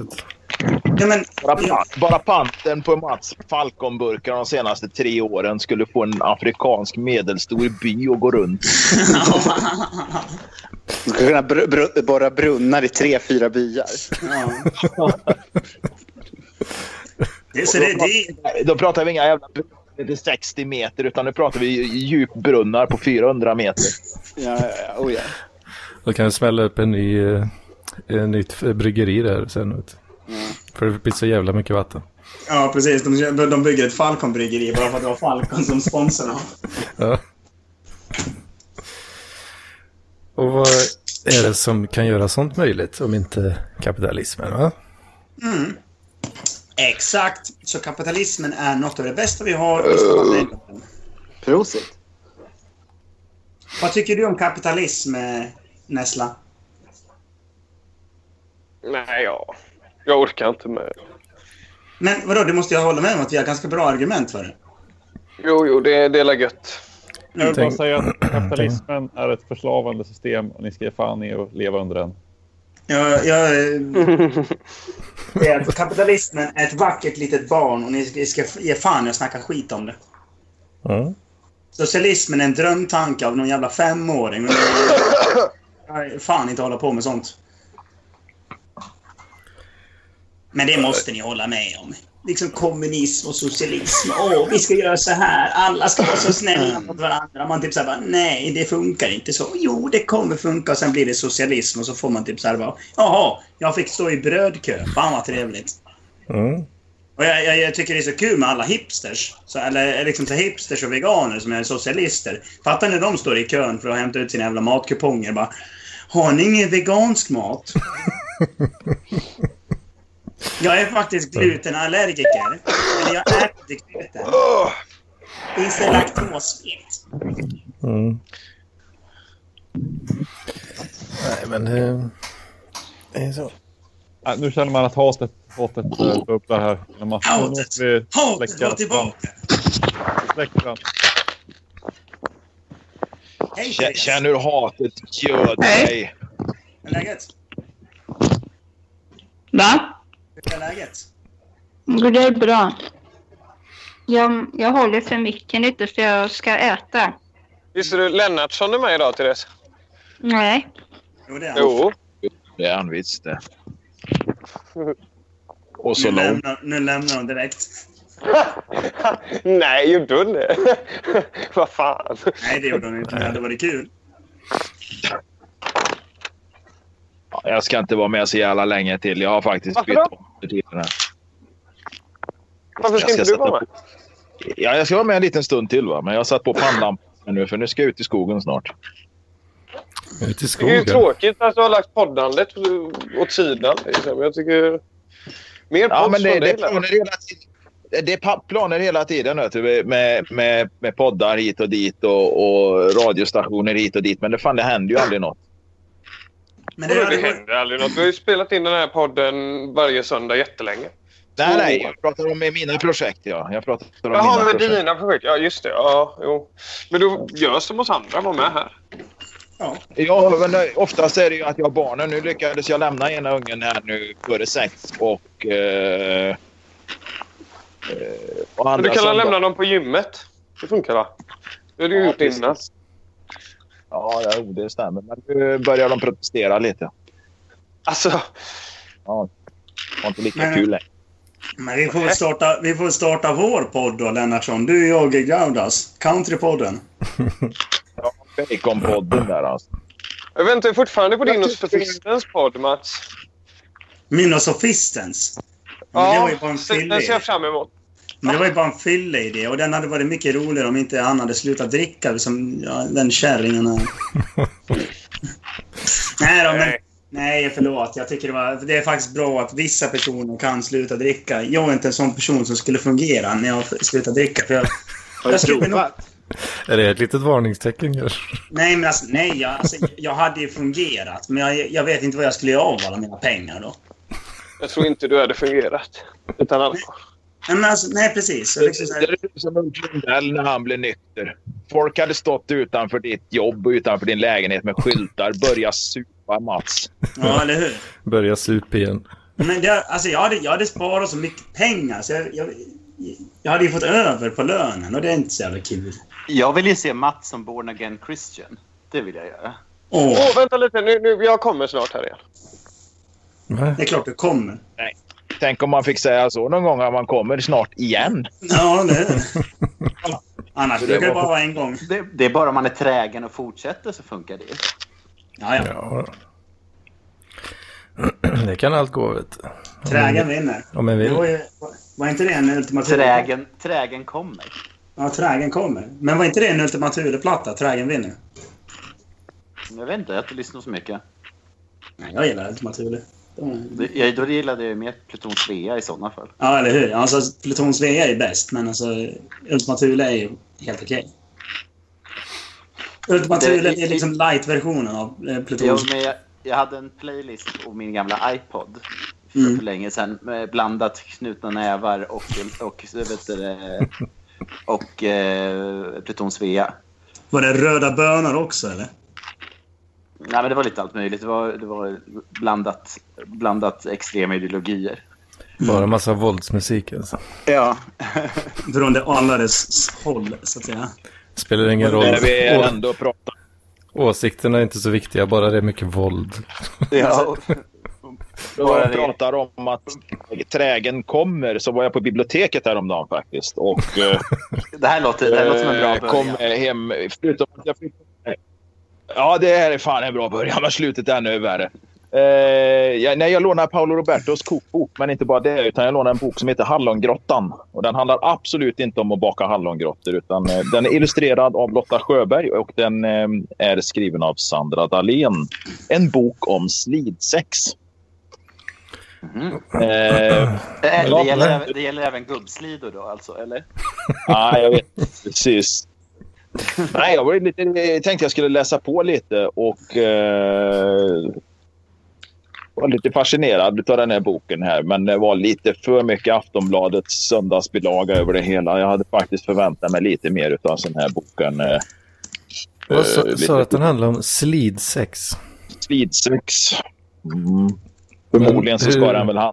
[SPEAKER 2] Ja, men,
[SPEAKER 4] Bara, pa- bara panten på Mats Falkonburkar de senaste tre åren skulle få en afrikansk medelstor by att gå runt.
[SPEAKER 3] Du ska kunna br- br- borra brunnar i tre, fyra byar.
[SPEAKER 2] ja. det, så det, det,
[SPEAKER 4] Då pratar vi inga jävla brunnar till 60 meter utan nu pratar vi djupbrunnar på 400 meter.
[SPEAKER 3] Ja, ja, ja. Oh, ja.
[SPEAKER 1] Då kan jag smälla upp en ny, eh, en nytt eh, bryggeri där sen. Vet. du. För det blir så jävla mycket vatten.
[SPEAKER 2] ja, precis. De, de bygger ett Falcon-bryggeri bara för att det var Falcon som sponsor.
[SPEAKER 1] Ja. Och vad är det som kan göra sånt möjligt om inte kapitalismen? Va?
[SPEAKER 2] Mm. Exakt. Så kapitalismen är något av det bästa vi har. i samhället.
[SPEAKER 3] Eh, Prosit.
[SPEAKER 2] Vad tycker du om kapitalism, eh, Nessla?
[SPEAKER 7] Nej, jag, jag orkar inte med.
[SPEAKER 2] Men vadå, det måste jag hålla med om att vi har ganska bra argument för det.
[SPEAKER 7] Jo, jo, det, det är la gött.
[SPEAKER 5] Jag vill bara
[SPEAKER 1] Tänk-
[SPEAKER 5] säga att kapitalismen är ett förslavande system och ni ska ge fan i att leva under den.
[SPEAKER 2] Jag, jag, eh, det är att kapitalismen är ett vackert litet barn och ni ska- ska ge fan i att snacka skit om det.
[SPEAKER 1] Ja.
[SPEAKER 2] Socialismen är en drömtanke av någon jävla femåring. Men jag- jag fan inte hålla på med sånt. Men det måste ni hålla med om. Liksom kommunism och socialism. Åh, vi ska göra så här. Alla ska vara så snälla mot varandra. Man typ så här bara, nej, det funkar inte så. Jo, det kommer funka. Och sen blir det socialism och så får man typ så här bara, jaha, jag fick stå i brödkö. Fan vad trevligt.
[SPEAKER 1] Mm.
[SPEAKER 2] Och jag, jag, jag tycker det är så kul med alla hipsters. Så, eller liksom så hipsters och veganer som är socialister. Fattar ni när de står i kön för att hämta ut sina jävla matkuponger bara Har ni ingen vegansk mat? jag är faktiskt glutenallergiker. Men jag äter inte gluten.
[SPEAKER 7] Oh.
[SPEAKER 2] Finns det laktosfritt?
[SPEAKER 1] Mm. Nej, men eh, det är så.
[SPEAKER 5] Nej, nu känner man att hatet, hatet eh, bubblar här. inom Mats. Nu
[SPEAKER 2] Hatet!
[SPEAKER 5] måste vi
[SPEAKER 2] Hatet
[SPEAKER 5] släcka
[SPEAKER 2] går tillbaka!
[SPEAKER 5] brand- släcka brand.
[SPEAKER 2] Hej
[SPEAKER 4] K-
[SPEAKER 2] Chris!
[SPEAKER 4] Känn hur hatet göder dig.
[SPEAKER 2] Hur är läget?
[SPEAKER 11] Va?
[SPEAKER 2] Hur är läget?
[SPEAKER 11] Det är bra. Jag, jag håller för mycket lite för jag ska äta.
[SPEAKER 7] Visst är du Lennartsson är med idag, Therese?
[SPEAKER 11] Nej.
[SPEAKER 2] Jo, det är han.
[SPEAKER 7] Jo.
[SPEAKER 4] Det är han visst det. Och så
[SPEAKER 2] Nu
[SPEAKER 4] långt.
[SPEAKER 2] lämnar, nu lämnar de direkt.
[SPEAKER 7] Nej, gjorde hon det? Vad fan.
[SPEAKER 2] Nej, det gjorde de inte. Det hade varit kul.
[SPEAKER 4] Ja, Jag ska inte vara med så jävla länge till. Jag har faktiskt
[SPEAKER 7] Varför
[SPEAKER 4] bytt om för tiden här.
[SPEAKER 7] Varför
[SPEAKER 4] Jag ska
[SPEAKER 7] ska inte du
[SPEAKER 4] sätta
[SPEAKER 7] vara med?
[SPEAKER 4] Ja, jag ska vara med en liten stund till va. Men jag har satt på pannlampan nu för nu ska jag ut i skogen snart.
[SPEAKER 1] Ut i
[SPEAKER 7] Det är ju
[SPEAKER 1] skogen.
[SPEAKER 7] tråkigt att du har lagt poddandet åt sidan. Liksom. Jag tycker... Mer
[SPEAKER 4] Ja,
[SPEAKER 7] pods
[SPEAKER 4] men det,
[SPEAKER 7] från
[SPEAKER 4] det är
[SPEAKER 7] dig, Lennart.
[SPEAKER 4] planer hela tiden. Det- Det är pa- planer hela tiden vet du, med, med, med poddar hit och dit och, och radiostationer hit och dit. Men det, fan, det händer ju aldrig något.
[SPEAKER 2] Men
[SPEAKER 7] Det,
[SPEAKER 2] det hade
[SPEAKER 7] det
[SPEAKER 2] varit...
[SPEAKER 7] händer aldrig något. Vi har ju spelat in den här podden varje söndag jättelänge.
[SPEAKER 4] Nej, nej. Jag pratar om mina projekt, ja. Jag pratar om
[SPEAKER 12] Jaha,
[SPEAKER 4] mina
[SPEAKER 12] med
[SPEAKER 4] projekt.
[SPEAKER 12] dina projekt. Ja, just det. Ja, jo. Men du gör som oss andra, var med här.
[SPEAKER 4] Ja, men eh, oftast är det ju att jag har barnen. Nu lyckades jag lämna ena ungen här nu före sex och... Eh, eh, och
[SPEAKER 12] Men du kan väl
[SPEAKER 4] söndag-
[SPEAKER 12] lämna dem på gymmet? Det funkar va? Det har du gjort innan.
[SPEAKER 4] Ja, ja, jo, det stämmer. Men nu börjar de protestera lite.
[SPEAKER 12] Alltså...
[SPEAKER 4] Ja, det var inte lika
[SPEAKER 2] Men-
[SPEAKER 4] kul längre.
[SPEAKER 2] Men vi får starta, vi får starta vår podd då, Lennartsson. Du, jag och Gaudas. Countrypodden.
[SPEAKER 4] Baconpodden där alltså.
[SPEAKER 12] Jag väntar ju fortfarande på din och Sofistens podd, Mats.
[SPEAKER 2] Min och Sofistens. Men det var ju bara en
[SPEAKER 12] Ja, den
[SPEAKER 2] fyllig
[SPEAKER 12] den ser
[SPEAKER 2] idé.
[SPEAKER 12] jag fram emot.
[SPEAKER 2] Men det var ju bara en fyllig idé. Och den hade varit mycket roligare om inte han hade slutat dricka som ja, den kärringen här. nej då, men... Nej, förlåt. Jag tycker det, var, det är faktiskt bra att vissa personer kan sluta dricka. Jag är inte en sån person som skulle fungera när jag slutar dricka. För jag,
[SPEAKER 1] Har du
[SPEAKER 2] jag skulle nog
[SPEAKER 1] Är det ett litet varningstecken kanske?
[SPEAKER 2] Nej, men alltså, nej, jag, alltså, jag hade ju fungerat. Men jag, jag vet inte vad jag skulle göra av alla mina pengar då.
[SPEAKER 12] Jag tror inte du hade fungerat utan alkohol.
[SPEAKER 2] Nej, men alltså, nej precis.
[SPEAKER 4] Det är du som Ulf Lundell när han blev nykter. Folk hade stått utanför ditt jobb och utanför din lägenhet med skyltar. Börja supa, Mats.
[SPEAKER 2] Ja, eller hur?
[SPEAKER 1] Börja sup igen.
[SPEAKER 2] Men det, alltså, jag, hade, jag hade sparat så mycket pengar så jag, jag, jag hade ju fått över på lönen och det är inte så jävla kul.
[SPEAKER 3] Jag vill ju se Mats som born again Christian. Det vill jag göra.
[SPEAKER 12] Åh, vänta lite. Nu, nu, jag kommer snart här igen.
[SPEAKER 1] Det
[SPEAKER 2] är klart du kommer.
[SPEAKER 4] Nej. Tänk om man fick säga så någon gång att man kommer snart igen.
[SPEAKER 2] Ja, det är det. Annars brukar det bara vara en gång.
[SPEAKER 3] Det, det är bara om man är trägen och fortsätter så funkar det.
[SPEAKER 2] Ja, ja.
[SPEAKER 1] Det kan allt gå vet du.
[SPEAKER 2] Trägen vinner.
[SPEAKER 1] Om en vill.
[SPEAKER 2] Det var, ju, var inte det en ultimativ...
[SPEAKER 3] Trägen, trägen kommer.
[SPEAKER 2] Ja, trägen kommer. Men var inte det en ultimativ-platta? Trägen vinner.
[SPEAKER 3] Jag vet inte, jag har inte lyssnat så mycket.
[SPEAKER 2] Nej, jag gillar ultimativ.
[SPEAKER 3] Det- Jag, då gillade jag ju mer Pluton 3 i sådana fall.
[SPEAKER 2] Ja, eller hur? Alltså, Plutons Vega är bäst, men alltså, Ultima Thule är ju helt okej. Ultima
[SPEAKER 3] Det-
[SPEAKER 2] Thule är
[SPEAKER 3] i-
[SPEAKER 2] liksom light-versionen av eh,
[SPEAKER 3] Jo,
[SPEAKER 2] Plutons
[SPEAKER 3] men jag, jag hade en playlist på min gamla iPod för,
[SPEAKER 2] Mm.
[SPEAKER 3] för länge sedan med blandat knutna nävar och, och, vet du, det, och eh, Pluton Svea.
[SPEAKER 2] Var det röda bönor också, eller?
[SPEAKER 3] Nej, men det var lite allt möjligt. Det var, det var blandat, blandat extrema ideologier.
[SPEAKER 1] Bara massa våldsmusik alltså.
[SPEAKER 3] Ja.
[SPEAKER 2] Från det allares håll, så att säga.
[SPEAKER 1] Spelar ingen roll.
[SPEAKER 4] När vi
[SPEAKER 1] Å-
[SPEAKER 4] ändå pratar.
[SPEAKER 1] Åsikterna är inte så viktiga, bara det är mycket våld.
[SPEAKER 3] Ja.
[SPEAKER 4] Bara pratar om att trägen kommer så var jag på biblioteket häromdagen faktiskt. Och, eh,
[SPEAKER 3] Det här låter, det här låter som en bra
[SPEAKER 4] eh,
[SPEAKER 3] början.
[SPEAKER 4] Kom eh, hem, förutom att jag flyttade. Ja, det här är fan en bra början, men slutet är ännu värre. Eh, jag, nej, jag lånar Paolo Robertos kokbok, men inte bara det. utan Jag lånar en bok som heter Hallongrottan. Och den handlar absolut inte om att baka hallongrottor. Utan, eh, den är illustrerad av Lotta Sjöberg och den eh, är skriven av Sandra Dahlén. En bok om slidsex. Eh,
[SPEAKER 3] Mhm. Eh,
[SPEAKER 4] ja,
[SPEAKER 3] det, gäller,
[SPEAKER 4] men-
[SPEAKER 3] även- det gäller även gubbslidor då, alltså? Eller?
[SPEAKER 4] Ja, jag vet. Precis. Nej, jag var ju lite, jag tänkte jag skulle läsa på lite och eh, var lite fascinerad av den här boken här. Men det var lite för mycket Aftonbladets söndagsbilaga över det hela. Jag hade faktiskt förväntat mig lite mer av en sån här boken. Eh,
[SPEAKER 1] Vad sa- sa
[SPEAKER 4] eh,
[SPEAKER 1] du
[SPEAKER 4] lite
[SPEAKER 1] att den handlar om slidsex?
[SPEAKER 4] Slidsex. Mm. Förmodligen så ska
[SPEAKER 1] hur-
[SPEAKER 4] den väl handla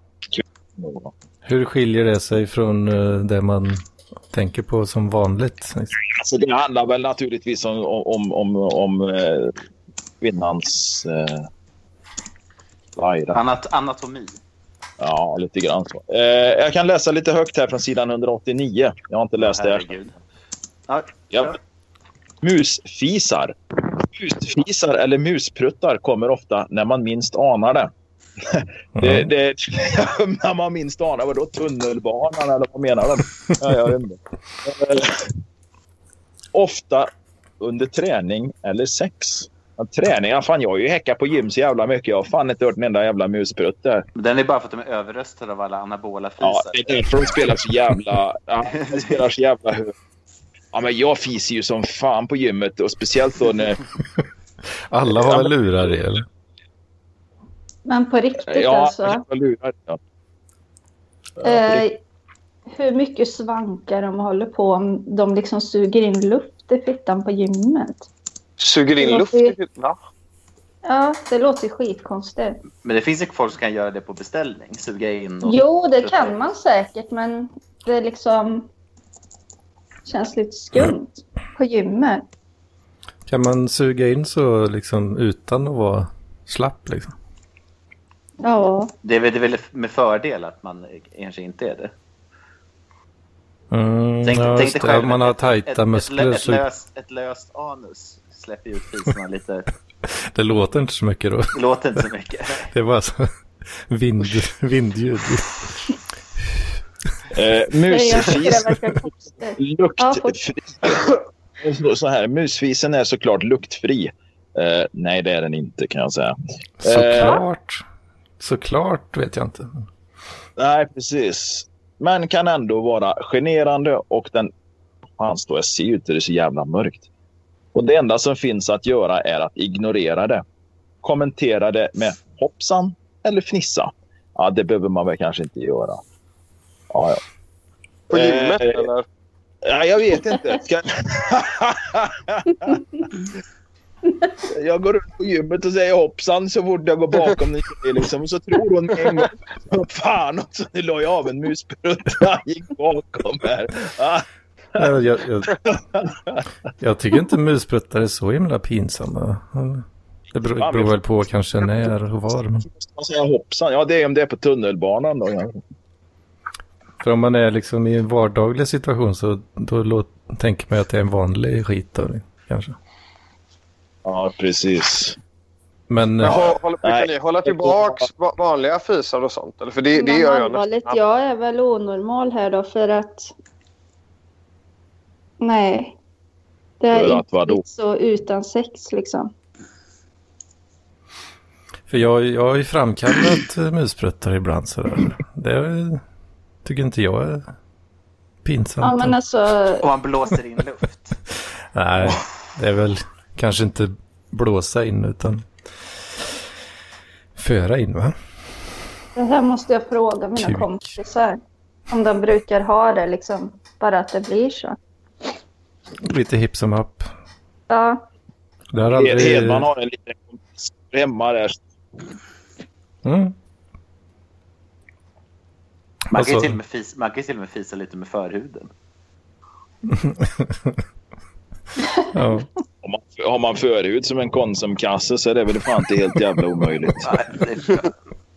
[SPEAKER 1] Hur skiljer det sig från eh, det man tänker på som vanligt?
[SPEAKER 4] Alltså det handlar väl naturligtvis om, om, om, om eh, kvinnans... Eh, vajra.
[SPEAKER 3] Anat anatomi.
[SPEAKER 4] Ja, lite grann så. Eh, jag kan läsa lite högt här från sidan 189. Jag har inte läst det. Här.
[SPEAKER 3] Ja,
[SPEAKER 4] Ja. Musfisar. Musfisar eller muspruttar kommer ofta när man minst anar det. det, det när man minst anar, vadå tunnelbanan eller vad menar de? Ja, jag vet inte. Eh, ofta under träning eller sex. Ja, Träning? Ja, fan, jag har ju häckat på gym så jävla mycket. Jag har fan inte hört en enda jävla musprutt där.
[SPEAKER 3] Den är bara för att de är överröstade av alla anabola
[SPEAKER 4] Ja,
[SPEAKER 3] fisar.
[SPEAKER 4] det är därför de spelar så jävla... Ja, de spelar så jävla högt. Ja, men jag fiser ju som fan på gymmet och speciellt då när...
[SPEAKER 1] Alla har väl lurar i eller?
[SPEAKER 11] Men på riktigt
[SPEAKER 4] Ja,
[SPEAKER 11] alltså.
[SPEAKER 4] jag lurar. Ja.
[SPEAKER 11] Eh, hur mycket svankar de håller på om de liksom suger in luft i fittan på gymmet.
[SPEAKER 7] Suger
[SPEAKER 11] Det
[SPEAKER 7] in luft
[SPEAKER 11] låter
[SPEAKER 7] i
[SPEAKER 11] ju-
[SPEAKER 7] fittan?
[SPEAKER 11] Ja, det låter ju skitkonstigt.
[SPEAKER 12] Men det finns ju folk som kan göra det på beställning. Suga
[SPEAKER 4] Mm.
[SPEAKER 12] in och...
[SPEAKER 11] Jo, det kan man säkert, men det liksom känns lite skumt på gymmet.
[SPEAKER 1] Kan man suga in så liksom utan att vara slapp liksom?
[SPEAKER 11] Ja,
[SPEAKER 12] Det är väl det är väl med fördel att man kanske inte är det.
[SPEAKER 1] Mm,
[SPEAKER 12] Tänk,
[SPEAKER 1] ja,
[SPEAKER 12] tänk
[SPEAKER 1] just
[SPEAKER 12] dig
[SPEAKER 1] det.
[SPEAKER 12] själv,
[SPEAKER 1] Man har
[SPEAKER 12] ett-
[SPEAKER 1] tajta
[SPEAKER 12] ett, ett,
[SPEAKER 1] muskler.
[SPEAKER 12] Ett,
[SPEAKER 1] så
[SPEAKER 12] löst, ett löst anus släpper ju ut fisorna lite.
[SPEAKER 1] Det låter inte så mycket då.
[SPEAKER 12] Det låter inte så mycket.
[SPEAKER 1] Det är bara så vind, vindljud.
[SPEAKER 4] Eh, musfis. Luktfri. Så här, musfisen är såklart luktfri. Eh, nej, det är den inte kan jag säga. Eh,
[SPEAKER 1] Såklart. Såklart vet jag inte.
[SPEAKER 4] nej, precis. Men kan ändå vara generande och den... Fan, står jag och ser ut och det är så jävla mörkt. Och det enda som finns att göra är att ignorera det. Kommentera det med hoppsan eller fnissa. Ja, det behöver man väl kanske inte göra. Ja, ja.
[SPEAKER 7] På gymmet, eller?
[SPEAKER 4] Nej, jag vet inte. Ska... jag går runt på gymmet och säger hoppsan så fort jag går bakom en tjej. Liksom. Och så tror hon en gång. "Åh, Fan också, nu la jag av en musprutta. gick bakom här. Ah.
[SPEAKER 1] Nej, men Jag, jag, jag tycker inte muspruttar är så himla pinsamma. Det beror, beror väl på kanske när och var. Men...
[SPEAKER 4] Man säger hoppsan. Ja, det är om det är på tunnelbanan då. Ja.
[SPEAKER 1] För om man är liksom i en vardaglig situation så då låt, tänker man ju att det är en vanlig skit då, kanske.
[SPEAKER 4] Ja, precis.
[SPEAKER 1] Men...
[SPEAKER 7] Men
[SPEAKER 1] eh,
[SPEAKER 7] hå- håll, brukar ni hålla tillbaks va- vanliga fisar och sånt? Eller? För det, det
[SPEAKER 11] men
[SPEAKER 7] gör jag
[SPEAKER 11] allvarligt,
[SPEAKER 7] nästan.
[SPEAKER 11] jag är väl onormal här då för att... Nej. Det är
[SPEAKER 1] För att
[SPEAKER 11] inte
[SPEAKER 1] vadå?
[SPEAKER 11] så utan sex liksom.
[SPEAKER 1] För jag, jag har ju framkallat eh, muspruttar ibland sådär. Det är- tycker inte jag är pinsamt.
[SPEAKER 11] Ja, men alltså...
[SPEAKER 12] Och man blåser in luft.
[SPEAKER 1] Nej, det är väl kanske inte blåsa in utan föra in va?
[SPEAKER 11] Det här måste jag fråga mina
[SPEAKER 1] Kuk.
[SPEAKER 11] kompisar. Om de brukar ha det liksom. Bara att det blir så.
[SPEAKER 1] Lite hipp som happ.
[SPEAKER 11] Ja.
[SPEAKER 1] Det har aldrig...
[SPEAKER 4] Hedman har en liten kompis hemma där.
[SPEAKER 1] Mm.
[SPEAKER 12] Man kan, ju
[SPEAKER 1] Alltså-
[SPEAKER 12] till och med fisa, man kan ju till och med fisa lite med förhuden.
[SPEAKER 1] Ja.
[SPEAKER 4] Om man, har man förhud som en Konsumkasse så är det väl fan inte helt jävla omöjligt.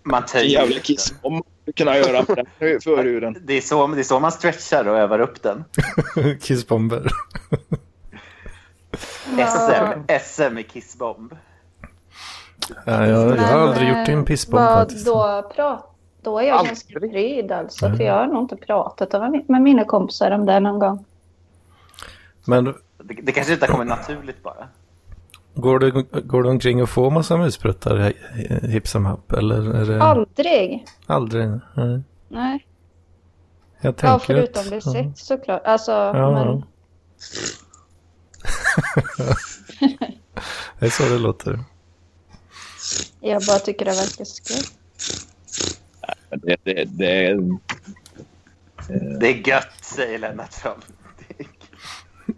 [SPEAKER 12] Man töjer
[SPEAKER 4] jävla
[SPEAKER 12] lite.
[SPEAKER 4] kiss om man skulle kunna göra på den förhuden.
[SPEAKER 12] Det är, så, det är så man stretchar och övar upp den.
[SPEAKER 1] Kissbomber.
[SPEAKER 12] SM, SM i kissbomb.
[SPEAKER 1] Nej, jag, jag har aldrig gjort en pissbomb
[SPEAKER 11] eh, vad,
[SPEAKER 1] faktiskt.
[SPEAKER 11] då, prat, då är jag ganska pryd alltså. För jag har nog inte pratat om- med mina kompisar om det någon gång.
[SPEAKER 1] Men
[SPEAKER 12] Det, det kanske inte kommer naturligt bara.
[SPEAKER 1] går du, går du omkring och får massa muspruttar eh, hipp som happ? Eller är det...
[SPEAKER 11] Aldrig.
[SPEAKER 1] Aldrig? Nej.
[SPEAKER 11] Nej.
[SPEAKER 1] Jag tänker
[SPEAKER 11] Ja, förutom
[SPEAKER 1] att...
[SPEAKER 11] vid sex såklart. Alltså, men...
[SPEAKER 1] det är så det låter.
[SPEAKER 11] Jag bara tycker det verkar skumt.
[SPEAKER 4] Det, det, det, är,
[SPEAKER 12] Det är gött, säger Lennart Fram.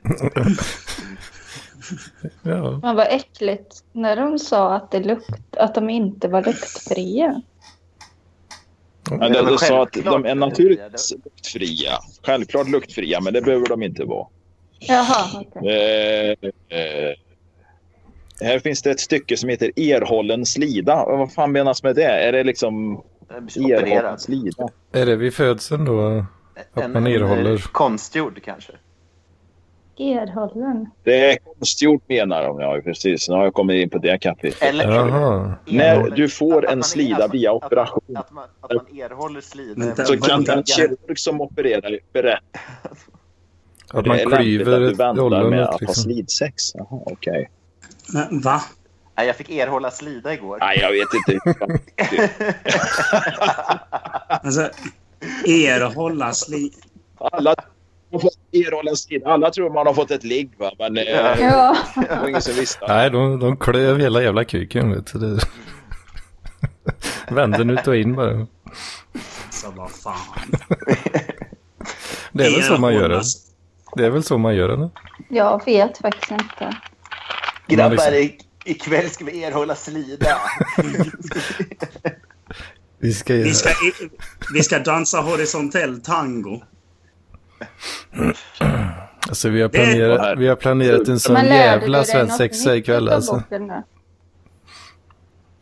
[SPEAKER 1] ja.
[SPEAKER 11] Men vad äckligt när de sa att, det lukt, att de inte var luktfria.
[SPEAKER 4] men det, du sa att de är naturligtvis luktfria. Självklart luktfria, men det behöver de inte vara.
[SPEAKER 11] Jaha, okej.
[SPEAKER 4] Eh, eh, här finns det ett stycke som heter erhållen slida. Vad fan menas med det? Är det liksom erhållen slida?
[SPEAKER 1] Är det vid födseln då? Att man erhåller?
[SPEAKER 12] eh, Konstgjord kanske.
[SPEAKER 11] Erhållen.
[SPEAKER 4] Det är konstgjort menar de, ja precis. Nu har jag kommit in på det kapitlet.
[SPEAKER 12] Eller- Jaha.
[SPEAKER 4] När du får en slida via operation
[SPEAKER 12] Att man erhåller slida.
[SPEAKER 4] så kan den kirurg som opererar berätta
[SPEAKER 1] Att man
[SPEAKER 4] det är lämpligt
[SPEAKER 1] klyver
[SPEAKER 4] att du
[SPEAKER 1] ett
[SPEAKER 4] väntar
[SPEAKER 1] ollon
[SPEAKER 4] med
[SPEAKER 1] ut,
[SPEAKER 4] att ha
[SPEAKER 1] liksom.
[SPEAKER 4] slidsex. Jaha, okej.
[SPEAKER 2] Va?
[SPEAKER 12] Nej, jag fick erhålla slida igår.
[SPEAKER 4] Nej, jag vet inte.
[SPEAKER 2] Alltså, erhålla sli...
[SPEAKER 4] Alla, man får erhålla slida. Alla tror man har fått ett ligg, va? men eh,
[SPEAKER 11] Ja.
[SPEAKER 4] det var ingen som visste.
[SPEAKER 1] Nej, de, de klöv hela jävla
[SPEAKER 12] Mm.
[SPEAKER 1] kuken. Vet du. Det... Vände den ut och in bara.
[SPEAKER 2] Sabba. Alltså, vad fan.
[SPEAKER 1] Det är väl så man gör det? Det är väl så man gör det? nu?
[SPEAKER 11] Jag vet faktiskt inte.
[SPEAKER 12] Grabbar,
[SPEAKER 1] Man liksom-
[SPEAKER 12] i, ikväll ska vi erhålla slida.
[SPEAKER 1] Vi ska
[SPEAKER 2] Vi ska, vi ska dansa horisontell tango.
[SPEAKER 1] Alltså vi har
[SPEAKER 2] Det är-
[SPEAKER 1] planerat, vi har planerat en sån
[SPEAKER 11] Men lärde du dig
[SPEAKER 1] jävla
[SPEAKER 11] något
[SPEAKER 1] svensexa
[SPEAKER 11] nytt
[SPEAKER 1] ikväll
[SPEAKER 11] utav
[SPEAKER 1] alltså.
[SPEAKER 11] boken då?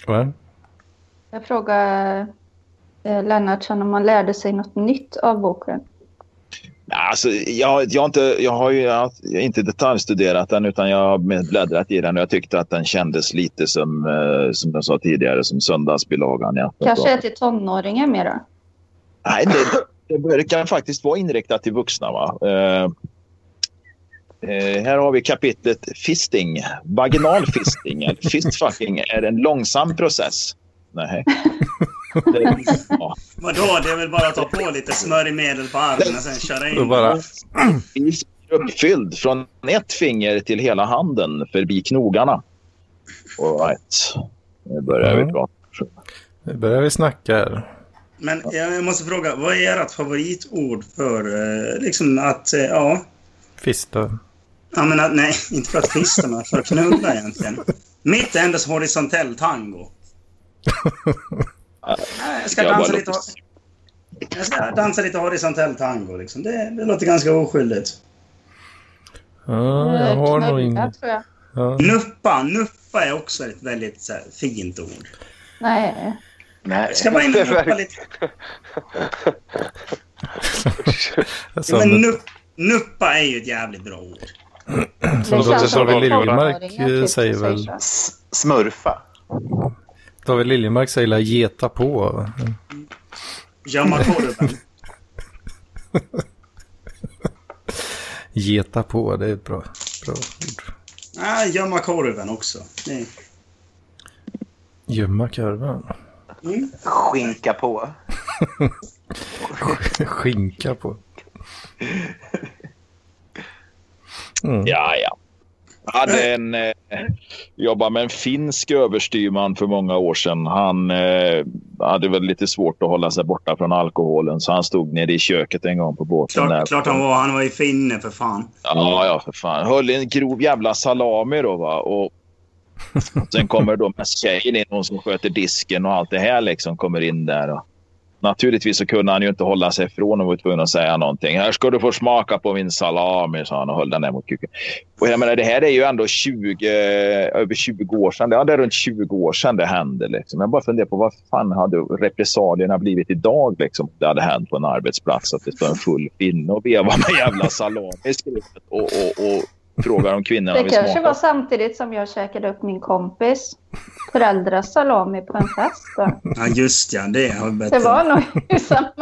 [SPEAKER 1] Va?
[SPEAKER 11] Jag frågade eh, Lennartsson om man lärde sig något nytt av boken.
[SPEAKER 4] Nej, Alltså, jag, jag, har inte, jag har ju jag har inte detaljstuderat den utan jag har med- bläddrat i den och jag tyckte att den kändes lite som, eh, som jag sa tidigare, som söndagsbilagan. Ja.
[SPEAKER 11] Kanske är till tonåringar mer då?
[SPEAKER 4] Nej, det, det kan faktiskt vara inriktat till vuxna. Va? Eh, eh, här har vi kapitlet fisting. Vaginal fisting, eller fistfucking, är en långsam process. Nej. Det, ja.
[SPEAKER 2] Vadå? Det är väl bara att ta på lite smörjmedel på armen och sen köra in.
[SPEAKER 4] Is uppfylld från ett finger till hela handen förbi knogarna. All right. Nu börjar vi
[SPEAKER 1] Mm.
[SPEAKER 4] prata.
[SPEAKER 1] Nu börjar vi snacka här.
[SPEAKER 2] Men jag måste fråga, vad är ert favoritord för eh, liksom att, eh, ja,
[SPEAKER 1] Fista.
[SPEAKER 2] ja men att, nej, inte för att fista men för att knulla egentligen. Mitt är endast horisontell tango. Jag ska dansa lite, jag ska dansa lite horisontell tango liksom. Det, det låter ganska oskyldigt.
[SPEAKER 1] Ja, jag har nog ingen...
[SPEAKER 11] tror jag.
[SPEAKER 1] Ja.
[SPEAKER 2] Nuppa, nuppa är också ett väldigt så här, fint ord.
[SPEAKER 11] Nej.
[SPEAKER 2] Jag ska bara in och nuppa lite.
[SPEAKER 1] Jag
[SPEAKER 2] Ja,
[SPEAKER 1] sa
[SPEAKER 2] men
[SPEAKER 1] nu-
[SPEAKER 2] nupp, nuppa är ju ett jävligt bra ord.
[SPEAKER 1] Som
[SPEAKER 2] Det känns
[SPEAKER 1] David-
[SPEAKER 2] som
[SPEAKER 1] David
[SPEAKER 2] att
[SPEAKER 1] Liljemark
[SPEAKER 2] tonåringar
[SPEAKER 1] eh,
[SPEAKER 2] typ säger
[SPEAKER 1] säger väl...
[SPEAKER 2] så.
[SPEAKER 12] Smurfa.
[SPEAKER 1] David Liljemark säger la geta på. va?
[SPEAKER 2] Gömma korven.
[SPEAKER 1] Geta på, det är ett bra, bra ord.
[SPEAKER 2] Nej, gömma korven också. Nej.
[SPEAKER 1] Gömma kurvan.
[SPEAKER 2] Mm.
[SPEAKER 12] Skinka på.
[SPEAKER 1] Skinka på. Mm.
[SPEAKER 4] Ja, ja. Jag hade en, eh, jobbade med en finsk överstyrman för många år sedan. Han eh, hade väl lite svårt att hålla sig borta från alkoholen så han stod nere i köket en gång på båten. där.
[SPEAKER 2] Klart, klart han var. Han var ju finne för fan.
[SPEAKER 4] Ja, ja, för fan. Höll i en grov jävla salami då va. Och sen kommer då med tjejen in, hon som sköter disken och allt det här liksom kommer in där. Och... Naturligtvis så kunde han ju inte hålla sig ifrån och var tvungen att säga någonting. Här ska du få smaka på min salami, sa han och höll den där mot kuken. Och jag menar, det här är ju ändå 20, eh, över 20 år sedan. Ja, det är runt 20 år sedan det hände. Liksom. Jag bara funderar på vad fan hade repressalierna blivit idag liksom, om det hade hänt på en arbetsplats? Att det står en full finne och vevar med jävla salami i skrevet och, och, och frågar om kvinnorna
[SPEAKER 11] Det
[SPEAKER 4] vill
[SPEAKER 11] kanske var
[SPEAKER 4] smaka.
[SPEAKER 11] samtidigt som jag käkade upp min kompis föräldrars salami på en fest. Då.
[SPEAKER 2] Ja, just ja. Det har vi bättre.
[SPEAKER 11] Det var nog i samma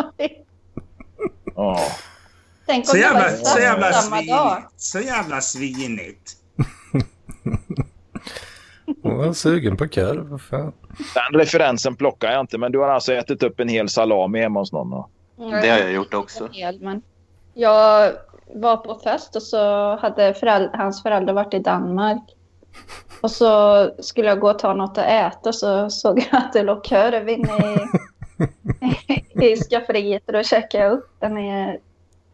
[SPEAKER 4] Ja.
[SPEAKER 11] Tänk om
[SPEAKER 2] Så
[SPEAKER 11] det
[SPEAKER 2] jävla,
[SPEAKER 11] var
[SPEAKER 2] så jävla
[SPEAKER 11] samma dag.
[SPEAKER 2] svinigt. Så jävla svinigt.
[SPEAKER 1] Hon var sugen på korv. Vad fan.
[SPEAKER 4] Den referensen plockar jag inte, men du har alltså ätit upp en hel salami hemma hos någon? va?
[SPEAKER 11] Det har jag
[SPEAKER 4] gjort också.
[SPEAKER 11] En hel, men jag var på fest och så hade föräld- hans föräldrar varit i Danmark. Och så skulle jag gå och ta något att äta och så såg jag att det låg korv inne i, i skafferiet och då käkade jag upp den i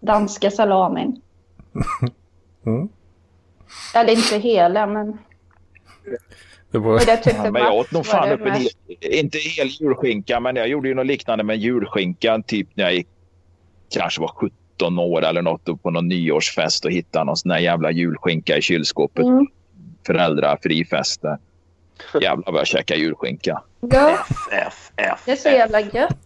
[SPEAKER 11] danska salamin.
[SPEAKER 1] Mm.
[SPEAKER 11] Eller inte hela men
[SPEAKER 1] Det var...
[SPEAKER 11] Och det tyckte
[SPEAKER 4] men jag
[SPEAKER 11] Mats
[SPEAKER 4] åt nog
[SPEAKER 11] var
[SPEAKER 4] fan
[SPEAKER 11] det
[SPEAKER 4] upp en hel,
[SPEAKER 11] värst.
[SPEAKER 4] inte hel julskinka, men jag gjorde ju något liknande med julskinkan typ när jag gick, kanske var 17 år eller något och på någon nyårsfest och hittade någon sån där jävla julskinka i kylskåpet.
[SPEAKER 11] Mm.
[SPEAKER 4] Föräldrafri fest. där. Jävlar vad jag käkade julskinka.
[SPEAKER 11] ja,
[SPEAKER 4] F, F.
[SPEAKER 11] det är så jävla gött.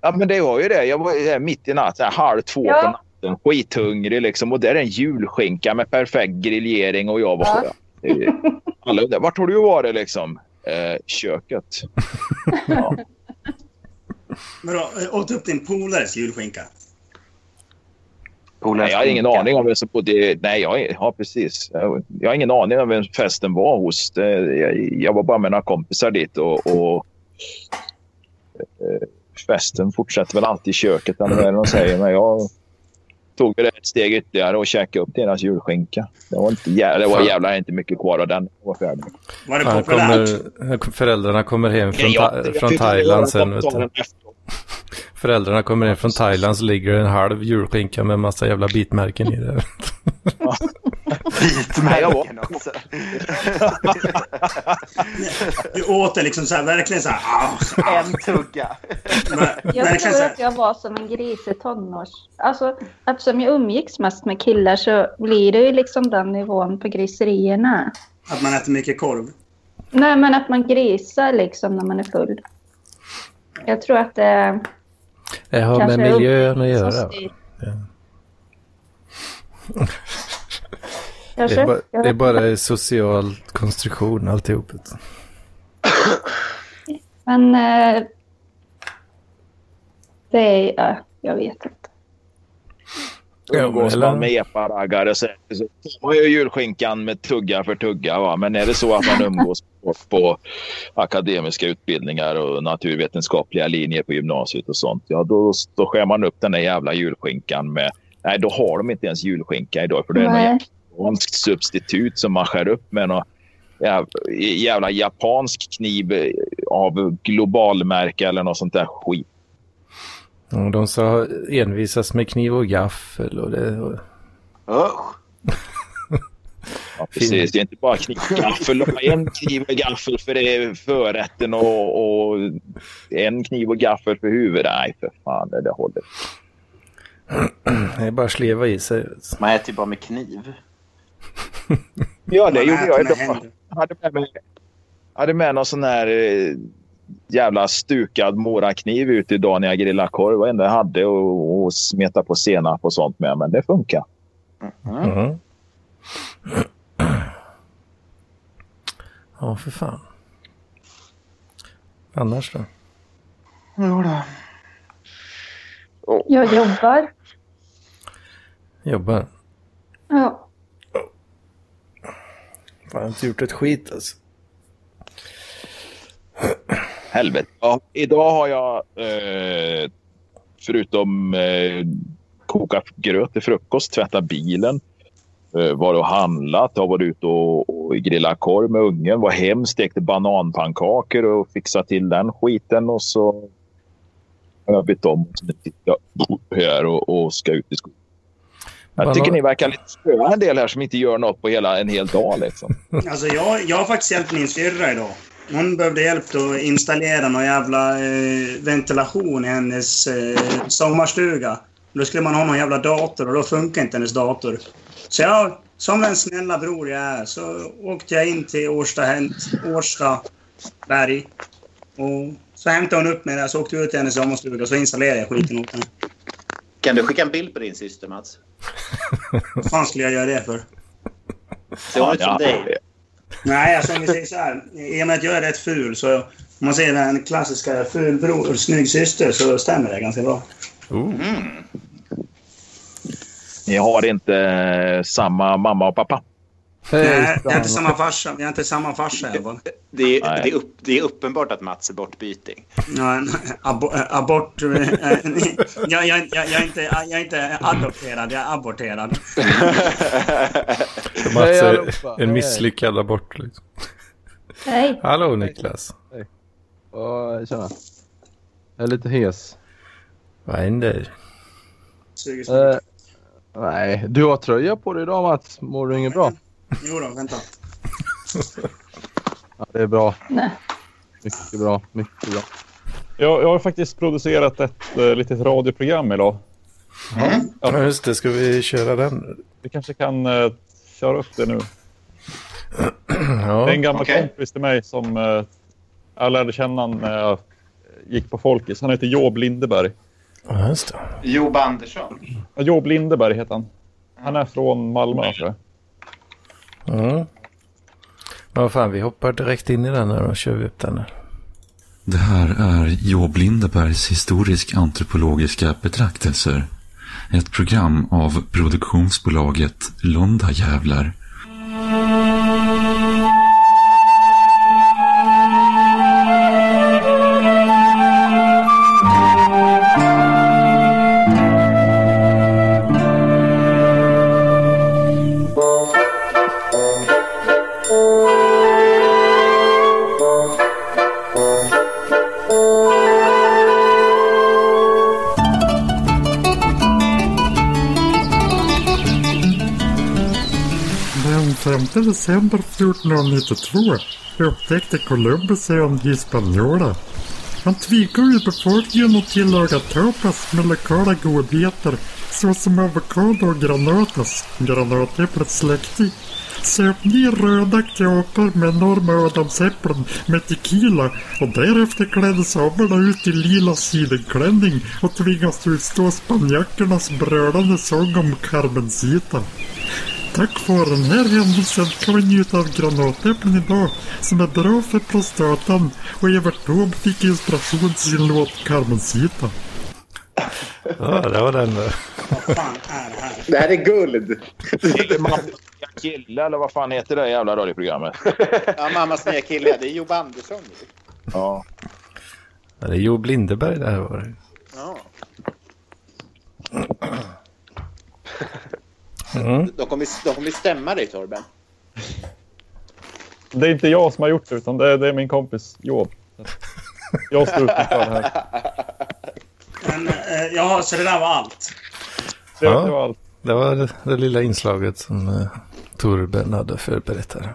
[SPEAKER 4] Ja, men det var ju det. Jag var ju där mitt i natten, halv två
[SPEAKER 11] Ja.
[SPEAKER 4] på natten, skithungrig liksom. Och där är en julskinka med perfekt griljering och jag var
[SPEAKER 11] Ja.
[SPEAKER 4] Det är ju- Alla undrar, vart har du varit liksom? Eh, köket.
[SPEAKER 2] Men då, eh, åt upp din polares julskinka.
[SPEAKER 4] Nej, jag har ingen aning om vem som bodde... Nej, jag, ja, precis. Jag, jag har ingen aning om vem festen var hos. Eh, Jag, jag var bara med några kompisar dit och... och eh, festen fortsätter väl alltid i köket eller vad är det de säger. Men jag tog det ett steg ytterligare och käkade upp deras julskinka. Det var, inte, jä- det var
[SPEAKER 1] Fan.
[SPEAKER 4] jävlar inte mycket kvar av den. Jag var färdig.
[SPEAKER 2] Var det
[SPEAKER 1] Fan,
[SPEAKER 2] populärt?
[SPEAKER 1] kommer, Föräldrarna kommer hem från,
[SPEAKER 4] Nej, jag-
[SPEAKER 1] Tha-
[SPEAKER 4] jag
[SPEAKER 1] från
[SPEAKER 4] tyckte det var
[SPEAKER 1] Thailand sen. Vet
[SPEAKER 4] samtalen
[SPEAKER 1] du.
[SPEAKER 4] efteråt.
[SPEAKER 1] Föräldrarna kommer in från Thailand så ligger det en halv julskinka med en massa jävla bitmärken i det.
[SPEAKER 12] Bitmärken också.
[SPEAKER 2] Du åt det liksom så här, verkligen så här. ah, ah.
[SPEAKER 12] En tugga.
[SPEAKER 11] Jag
[SPEAKER 2] Verkligen så
[SPEAKER 11] tror
[SPEAKER 2] här.
[SPEAKER 11] att jag var som en grisig tonårs... Alltså, eftersom jag umgicks mest med killar så blir det ju liksom den nivån på griserierna.
[SPEAKER 2] Att man äter mycket korv.
[SPEAKER 11] Nej, men att man grisar liksom när man är full. Jag tror att det
[SPEAKER 1] Det har med
[SPEAKER 11] Kanske upp-
[SPEAKER 1] miljön att
[SPEAKER 11] som
[SPEAKER 1] göra.
[SPEAKER 11] styr.
[SPEAKER 1] Det
[SPEAKER 11] Kanske?
[SPEAKER 1] är, bara,
[SPEAKER 11] Jag
[SPEAKER 1] det är
[SPEAKER 11] vet
[SPEAKER 1] bara social konstruktion alltihop.
[SPEAKER 11] Men eh, det är... ja, jag vet inte.
[SPEAKER 4] Umgås
[SPEAKER 1] eller-
[SPEAKER 4] man med epa-raggare så, så tar man ju julskinkan med tugga för tugga. Va? Men är det så att man umgås på, på akademiska utbildningar och naturvetenskapliga linjer på gymnasiet och sånt, ja då, då skär man upp den där jävla julskinkan med... Nej, då har de inte ens julskinka idag för det är någon
[SPEAKER 11] Nej.
[SPEAKER 4] japansk substitut som man skär upp med någon jäv- jävla japansk kniv eh, av globalmärke eller något sånt där skit.
[SPEAKER 1] Och de ska envisas med kniv och gaffel. Och det, och...
[SPEAKER 4] Ja, precis. Det är inte bara kniv och gaffel. De har en kniv och gaffel för det är förrätten och, och en kniv och gaffel för huvudet. Nej, för fan. Det, det håller.
[SPEAKER 1] Det är bara att sleva i sig.
[SPEAKER 12] Man äter ju typ bara med kniv.
[SPEAKER 4] Ja, det
[SPEAKER 12] Man
[SPEAKER 4] gjorde
[SPEAKER 12] äter
[SPEAKER 4] jag
[SPEAKER 12] med
[SPEAKER 4] idag.
[SPEAKER 12] händer.
[SPEAKER 4] Jag hade med mig, hade med någon sån här eh, jävla stukad morakniv ut idag när jag grillade korv. Det var det enda jag hade och, och smeta på senap och sånt med. Men det funkar.
[SPEAKER 1] Mm. Ja, för fan. Annars då?
[SPEAKER 11] Jag jobbar.
[SPEAKER 1] Jobbar.
[SPEAKER 11] Ja.
[SPEAKER 1] Fan, jag har inte gjort ett skit alltså.
[SPEAKER 4] Helvete. Ja, idag har jag eh, förutom eh, koka gröt till frukost, tvätta bilen, eh, varit och handlat, har varit ute och, och grillat korv med ungen, var hem, stekte bananpannkakor och fixat till den skiten och så har jag bytt om och så nu sitter jag här och, och ska ut i skolan. Jag
[SPEAKER 2] Banan-
[SPEAKER 4] tycker ni verkar lite spöa en del här som inte gör något på hela en hel dag. Liksom.
[SPEAKER 2] Alltså jag, jag har faktiskt hjälpt min syrra idag. Hon behövde hjälp att installera någon jävla eh, ventilation i hennes eh, sommarstuga. Då skulle man ha någon jävla dator och då funkar inte hennes dator. Så jag, som den snälla bror jag är, så åkte jag in till Årsta, hämt- Årsta berg. Och så hämtade hon upp mig där, så åkte vi ut till hennes sommarstuga och så installerade jag skiten åt henne.
[SPEAKER 12] Kan du skicka en bild på din syster, Mats?
[SPEAKER 2] Vad fan skulle jag göra det för?
[SPEAKER 12] Ser hon ut som dig?
[SPEAKER 2] Nej, alltså om vi säger så här. I och med att jag är rätt ful så... Om man säger den klassiska fulbror, snygg syster så stämmer det ganska bra.
[SPEAKER 4] Ni har inte eh, samma mamma och pappa.
[SPEAKER 2] Nej, jag är inte samma farsa. Jag är inte samma farsa i alla fall.
[SPEAKER 12] Det är, det, är upp, det är uppenbart att Mats är bortbyting.
[SPEAKER 2] Nej, nej, abo, eh, abort... eh, jag, jag, jag, jag, är inte, jag är inte adopterad, jag är aborterad.
[SPEAKER 1] De har haft
[SPEAKER 2] Hej,
[SPEAKER 1] så-
[SPEAKER 2] allihopa.
[SPEAKER 1] eh, en
[SPEAKER 2] Hej.
[SPEAKER 1] misslyckad abort. Liksom.
[SPEAKER 11] Hej.
[SPEAKER 1] Hallå Niklas.
[SPEAKER 5] Ja, tjena. Jag är lite hes.
[SPEAKER 1] Vad händer?
[SPEAKER 5] Eh, nej, du har tröja på dig idag Mats. Mår du inget bra?
[SPEAKER 2] Jo då, vänta.
[SPEAKER 5] Ja, det är bra.
[SPEAKER 11] Nej.
[SPEAKER 5] Mycket bra, mycket bra. Jag, jag har faktiskt producerat ett eh, litet radioprogram idag. Mm.
[SPEAKER 1] Ja, just det, ska vi köra den?
[SPEAKER 5] Vi kanske kan eh, köra upp det nu.
[SPEAKER 1] Ja.
[SPEAKER 5] det är en gammal
[SPEAKER 1] Okej.
[SPEAKER 5] kompis till mig som eh, jag lärde känna när jag gick på Folkis. Han heter Job Lindeberg.
[SPEAKER 1] Ja, just det.
[SPEAKER 12] Job Andersson.
[SPEAKER 5] Ja, Job Lindeberg heter han. Han är från Malmö tror jag.
[SPEAKER 1] Mm. Men vad fan, vi hoppar direkt in i den här och kör vi upp den. här.
[SPEAKER 13] Det här är Job Lindebergs historisk-antropologiska betraktelser. Ett program av produktionsbolaget Londa Jävlar.
[SPEAKER 8] Thank 25 december 1492 upptäckte Columbus ön Hispaniola. Han tvingade ju befolkningen att tillaga tapas med lokala godheter såsom avokado och granatas, granatäpplets släkting. Söp ner röda kroppar med enorma adamsäpplen med tequila och därefter kläddes aborna ut i lila sidenklänning och tvingades utstå spanjackernas brölande sång om Carmencita. Tack vare den här händelsen kan vi njuta av granatäpplen idag som är bra för prostatan och Evert Taube fick inspiration till sin låt Carmencita.
[SPEAKER 1] Ja, det var den.
[SPEAKER 3] Det här är guld.
[SPEAKER 4] Jag kille eller vad fan heter det jävla radioprogrammet?
[SPEAKER 3] Ja, mammas nya kille. Det är Job Andersson.
[SPEAKER 4] Ja.
[SPEAKER 1] Ja, Det är Joe Lindeberg det här var det.
[SPEAKER 3] Ja.
[SPEAKER 1] Mm.
[SPEAKER 3] De kommer, de kommer stämma dig, Torben.
[SPEAKER 5] Det är inte jag som har gjort det, utan det är, det är min kompis Job. Jag står utanför här.
[SPEAKER 2] Men, eh, ja, så det där var allt.
[SPEAKER 5] Det, det var allt.
[SPEAKER 1] Det var det, det lilla inslaget som eh, Torben hade förberett här.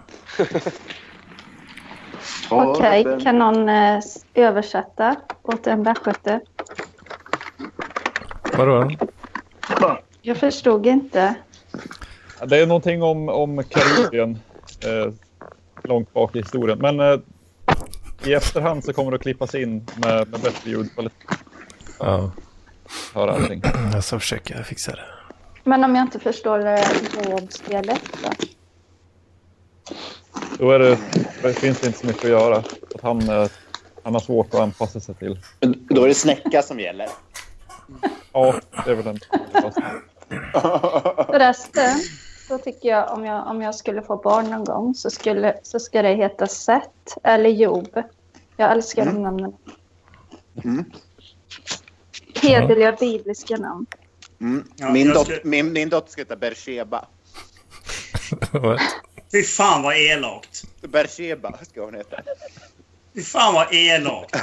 [SPEAKER 11] Okej, kan någon eh, s- översätta åt en västgöte?
[SPEAKER 1] Vadå?
[SPEAKER 11] Jag förstod inte.
[SPEAKER 5] Det är någonting om, om Karibien eh, långt bak i historien. Men eh, i efterhand så kommer det att klippas in med, med bättre ljudkvalitet.
[SPEAKER 1] Ja.
[SPEAKER 5] Hör allting.
[SPEAKER 1] Jag ska försöka fixa det.
[SPEAKER 11] Men om jag inte förstår rådspelet då?
[SPEAKER 5] Då är det, det finns inte så mycket att göra. Att han, eh, han har svårt att anpassa sig till.
[SPEAKER 3] Då är det snäcka som gäller.
[SPEAKER 5] Ja, det är väl en...
[SPEAKER 11] Förresten så tycker jag om, jag om jag skulle få barn någon gång så, skulle, så ska det heta Seth eller Job. Jag älskar de namnen. Hederliga bibliska namn.
[SPEAKER 3] Mm.
[SPEAKER 2] Ja,
[SPEAKER 3] min,
[SPEAKER 2] jag
[SPEAKER 3] dot,
[SPEAKER 2] skulle-
[SPEAKER 3] min, min dotter ska heta Bersheba.
[SPEAKER 2] Fy fan vad elakt.
[SPEAKER 3] Bersheba ska hon heta.
[SPEAKER 2] Fy fan vad elakt.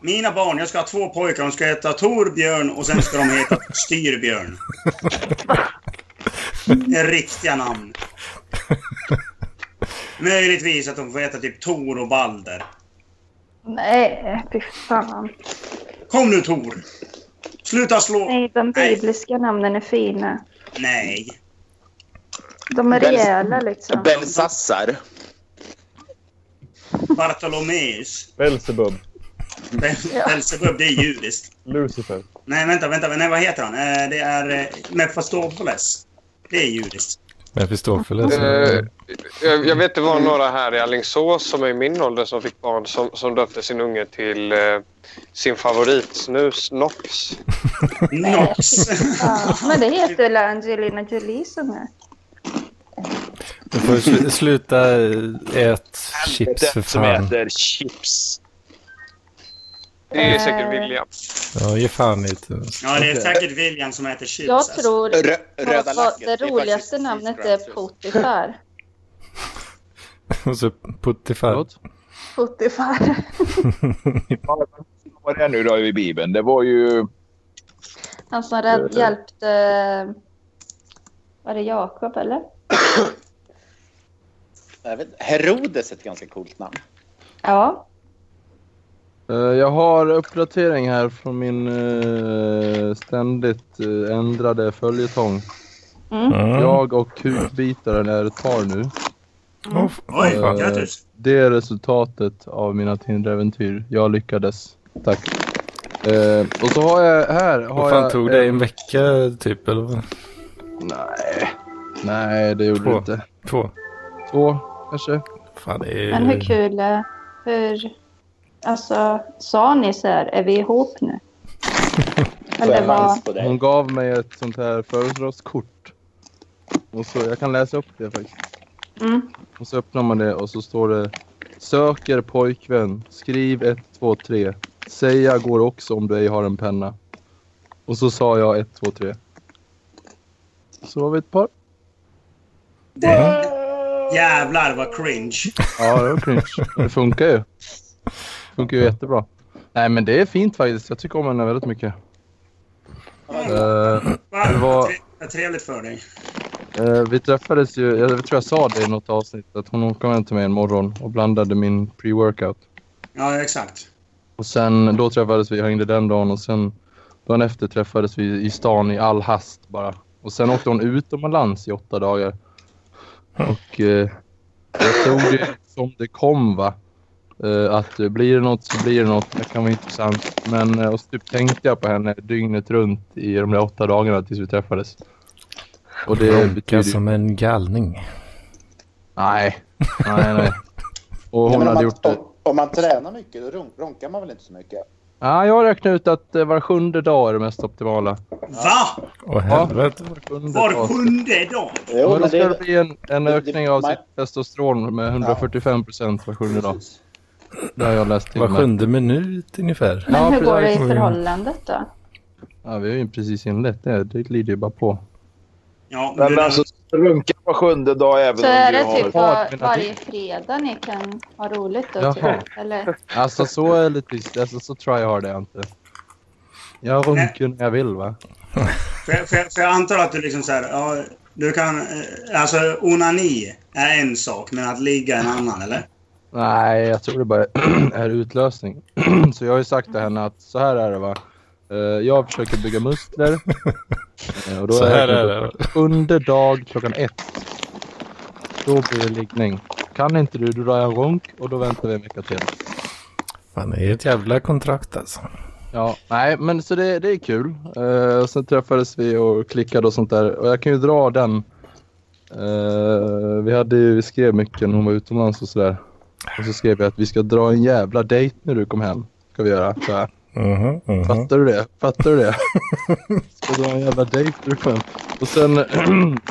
[SPEAKER 2] Mina barn, jag ska ha två pojkar. De ska heta Torbjörn och sen ska de heta Styrbjörn. Det är riktiga namn. Möjligtvis att de får heta typ Tor och Balder.
[SPEAKER 11] Nej, fy fan.
[SPEAKER 2] Kom nu Tor! Sluta slå!
[SPEAKER 11] Nej, de bibliska namnen är fina.
[SPEAKER 2] Nej.
[SPEAKER 11] De är
[SPEAKER 2] Väl-
[SPEAKER 11] rejäla liksom.
[SPEAKER 3] Belsassar.
[SPEAKER 2] Bartolomeus.
[SPEAKER 5] Belzebub.
[SPEAKER 2] Belzebub, det är judiskt.
[SPEAKER 5] Lucifer.
[SPEAKER 2] Nej, vänta, vänta. Nej, vad heter han? Eh, Det är eh, Mefastopoles. Det är judiskt.
[SPEAKER 1] Mefistofeles.
[SPEAKER 7] Eh, jag, jag vet det var några här i Alingsås som är i min ålder som fick barn som, som döpte sin unge till eh, sin favoritsnus, Nox.
[SPEAKER 2] Nox.
[SPEAKER 11] Ja, men det heter väl Angelina Jolie som är.
[SPEAKER 1] Du får sl- sluta eh, ät chips för
[SPEAKER 4] som
[SPEAKER 1] fan.
[SPEAKER 4] äter chips.
[SPEAKER 7] Det är säkert William.
[SPEAKER 1] Ja, ge fan typ. lite.
[SPEAKER 2] Ja, det är säkert William som äter chips. alltså.
[SPEAKER 11] Jag tror
[SPEAKER 2] Rö-
[SPEAKER 11] att
[SPEAKER 2] röda lacket,
[SPEAKER 11] Alltså, det
[SPEAKER 2] det är
[SPEAKER 11] roligaste
[SPEAKER 2] faktiskt
[SPEAKER 11] namnet är
[SPEAKER 2] Jesus
[SPEAKER 11] Potifar.
[SPEAKER 1] Och så puttifar.
[SPEAKER 11] Potifar.
[SPEAKER 4] Vad är det nu då i Bibeln? Det var ju...
[SPEAKER 11] Han som rädd hjälpte... Var det Jakob eller?
[SPEAKER 3] Jag vet- Herodes är ett ganska coolt namn.
[SPEAKER 11] Ja.
[SPEAKER 14] Eh, Jag har uppdatering här från min eh, ständigt eh, ändrade följetong.
[SPEAKER 11] Mm. Mm.
[SPEAKER 14] Jag och kukbitaren är ett par nu.
[SPEAKER 11] Mm.
[SPEAKER 2] Oj,
[SPEAKER 14] Eh,
[SPEAKER 2] grattis.
[SPEAKER 14] Det är resultatet av mina Tinder-äventyr. Jag lyckades. Tack. Eh, och så har jag här... Har
[SPEAKER 1] Vad fan
[SPEAKER 14] jag,
[SPEAKER 1] tog det? En vecka typ eller? vad?
[SPEAKER 14] Nej. Nej, det gjorde
[SPEAKER 1] Två.
[SPEAKER 14] det inte.
[SPEAKER 1] Två.
[SPEAKER 14] Två, kanske.
[SPEAKER 1] Fan, det är...
[SPEAKER 11] Men hur kul... eh, Hur... Alltså, sa ni så här, är vi ihop nu? Men det var...
[SPEAKER 14] Hon gav mig ett sånt här födelsedagskort. Och så, jag kan läsa upp det faktiskt.
[SPEAKER 11] Mm.
[SPEAKER 14] Och så öppnar man det och så står det Söker pojkvän. Skriv 1, 2, 3. Säga går också om du ej har en penna. Och så sa jag 1, 2, 3. Så var vi ett par.
[SPEAKER 2] Det... Jävlar vad cringe.
[SPEAKER 14] Ja, det var cringe. Det funkar ju. funkar ju jättebra. Nej, men det är fint faktiskt. Jag tycker om henne väldigt mycket. Eh, det var...
[SPEAKER 2] Vad trevligt för dig.
[SPEAKER 14] Eh, vi träffades ju, jag tror jag sa det i något avsnitt, att hon kom hem till mig en morgon och blandade min pre-workout.
[SPEAKER 2] Ja, exakt.
[SPEAKER 14] Och sen, då träffades vi, hängde den dagen och sen dagen efter träffades vi i stan i all hast bara. Och sen åkte hon utomlands i åtta dagar. Och eh, jag tog det som det kom va. Eh, att eh, blir det något så blir det något. Det kan vara intressant. Men eh, och så typ tänkte jag på henne dygnet runt i de där åtta dagarna tills vi träffades. Och det
[SPEAKER 1] Ronka
[SPEAKER 14] betyder ju-
[SPEAKER 1] som en galning.
[SPEAKER 14] Nej. Nej, nej.
[SPEAKER 15] Nej,
[SPEAKER 14] Och hon
[SPEAKER 15] men om,
[SPEAKER 14] hade
[SPEAKER 15] man,
[SPEAKER 14] gjort det.
[SPEAKER 15] om, om man tränar mycket då ron- ronkar man väl inte så mycket?
[SPEAKER 14] Ja, jag räknar ut att eh, var sjunde dag är det mest optimala.
[SPEAKER 2] Va?
[SPEAKER 1] Åh
[SPEAKER 14] helvete.
[SPEAKER 2] Var sjunde dag?
[SPEAKER 14] Jo, men då ska det bli en, en ökning av
[SPEAKER 2] man-
[SPEAKER 14] sitt testosteron med 145 procent var sjunde dag. Det har jag läst till
[SPEAKER 1] Var
[SPEAKER 14] mig.
[SPEAKER 1] sjunde minut ungefär.
[SPEAKER 11] Men hur går det i
[SPEAKER 14] precis.
[SPEAKER 11] förhållandet då?
[SPEAKER 14] Ja, vi har ju precis inlett det. Det glider ju bara på.
[SPEAKER 2] Ja,
[SPEAKER 4] men alltså, runka på sjunde dag även
[SPEAKER 11] Så
[SPEAKER 4] om
[SPEAKER 11] är
[SPEAKER 4] du
[SPEAKER 11] det typ
[SPEAKER 4] har...
[SPEAKER 11] var, varje fredag ni kan ha roligt då?
[SPEAKER 14] Jaha.
[SPEAKER 11] Typ. Eller?
[SPEAKER 14] Alltså så är lite... Alltså så tryhard är jag inte. Jag runkar när jag vill va?
[SPEAKER 2] För, för, för jag antar att du liksom så här, ja, du kan... eh, Alltså onani är en sak, men att ligga är en annan, eller?
[SPEAKER 14] Nej, jag tror det bara är utlösning. så jag har ju sagt till henne att så här är det va. Eh, Jag försöker bygga muskler. Eh, och då
[SPEAKER 1] Så här
[SPEAKER 14] jag-
[SPEAKER 1] är det, va?
[SPEAKER 14] Under dag klockan ett. Då blir det liggning. Kan inte du, då drar jag en ronk och då väntar vi en vecka till.
[SPEAKER 1] Fan, det är ett jävla kontrakt alltså.
[SPEAKER 14] Ja, nej, men så det, det är kul. Eh, sen träffades vi och klickade och sånt där. Och jag kan ju dra den. Eh, vi, hade, ju- vi skrev mycket när hon var utomlands och sådär. Och så skrev jag att vi ska dra en jävla dejt när du kom hem. Ska vi göra. Så här.
[SPEAKER 1] Mhm, mhm.
[SPEAKER 14] Fattar du det? Fattar du det? ska dra en jävla dejt när du kom hem. Och sen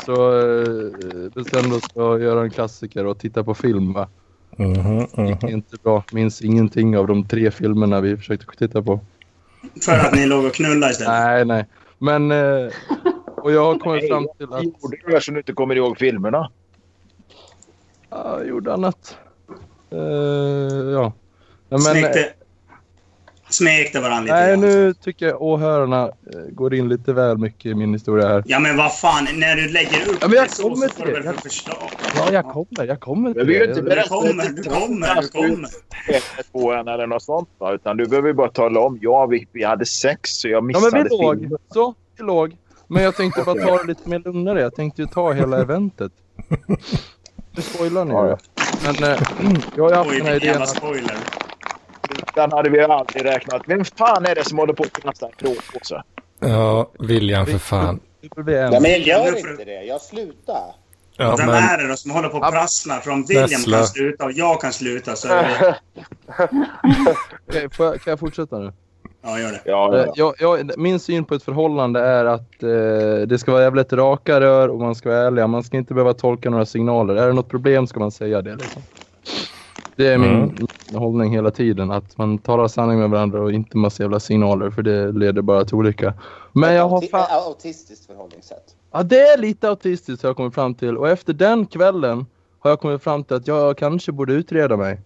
[SPEAKER 14] så eh, bestämde oss för att göra en klassiker och titta på film va.
[SPEAKER 1] Mhm,
[SPEAKER 14] Gick inte bra. Minns ingenting av de tre filmerna vi försökte titta på.
[SPEAKER 2] För att ni låg och knullade istället.
[SPEAKER 14] Nej, nej. Men... eh, Och jag har kommit fram till att...
[SPEAKER 4] Gjorde du det som du inte kommer ihåg filmerna?
[SPEAKER 14] Ja, jag gjorde annat. Eh, ja. Nej, men, eh,
[SPEAKER 2] Smekte, smekte varandra lite.
[SPEAKER 14] nej, nu tycker jag åhörarna eh, går in lite väl mycket i min historia här.
[SPEAKER 2] Ja, men vad fan. När du lägger upp
[SPEAKER 14] Ja, men jag
[SPEAKER 2] det så,
[SPEAKER 14] kommer
[SPEAKER 2] så får du
[SPEAKER 14] till
[SPEAKER 2] väl
[SPEAKER 14] det.
[SPEAKER 2] för förslag.
[SPEAKER 14] Ja, jag kommer. Jag kommer
[SPEAKER 4] Jag vill ju
[SPEAKER 2] Du
[SPEAKER 4] inte berätta
[SPEAKER 2] kommer, du kommer, du kommer.
[SPEAKER 4] på henne eller något sånt. va? Utan du behöver ju bara tala om. Ja, vi, vi hade sex så jag
[SPEAKER 14] Ja,
[SPEAKER 4] missade
[SPEAKER 14] men vi låg.
[SPEAKER 4] filmen.
[SPEAKER 14] Så, vi låg. Men jag tänkte bara ta det lite mer lugnare. Jag tänkte ju ta hela eventet. Nu spoilar ni ju. Men eh, jag har ju haft
[SPEAKER 4] Oj,
[SPEAKER 14] den här
[SPEAKER 4] vilken
[SPEAKER 14] idén
[SPEAKER 4] jävla
[SPEAKER 14] att
[SPEAKER 2] spoiler.
[SPEAKER 4] Den hade vi aldrig räknat. Vem fan är det som håller på att knasta en plåtpåse?
[SPEAKER 1] Ja, William för fan.
[SPEAKER 15] Ja, men jag gör inte det. Jag slutar.
[SPEAKER 1] Ja,
[SPEAKER 2] Vem
[SPEAKER 1] men-
[SPEAKER 2] är det då som håller på och prasslar? För om William
[SPEAKER 1] Prassla.
[SPEAKER 2] kan sluta och jag kan sluta så är det...
[SPEAKER 14] Okej, får jag, kan jag fortsätta nu?
[SPEAKER 2] Ja, gör det.
[SPEAKER 14] Eh, Jag, jag, min syn på ett förhållande är att eh, det ska vara jävligt raka rör och man ska vara ärliga. Man ska inte behöva tolka några signaler. Är det något problem ska man säga det. Liksom. Det är min,
[SPEAKER 1] Mm.
[SPEAKER 14] min hållning hela tiden. Att man talar sanning med varandra och inte massa jävla signaler. För det leder bara till olycka. Men jag har
[SPEAKER 15] Auti-
[SPEAKER 14] fan...
[SPEAKER 15] äh, Autistiskt förhållningssätt.
[SPEAKER 14] Ja, det är lite autistiskt har jag kommit fram till. Och efter den kvällen har jag kommit fram till att jag kanske borde utreda mig.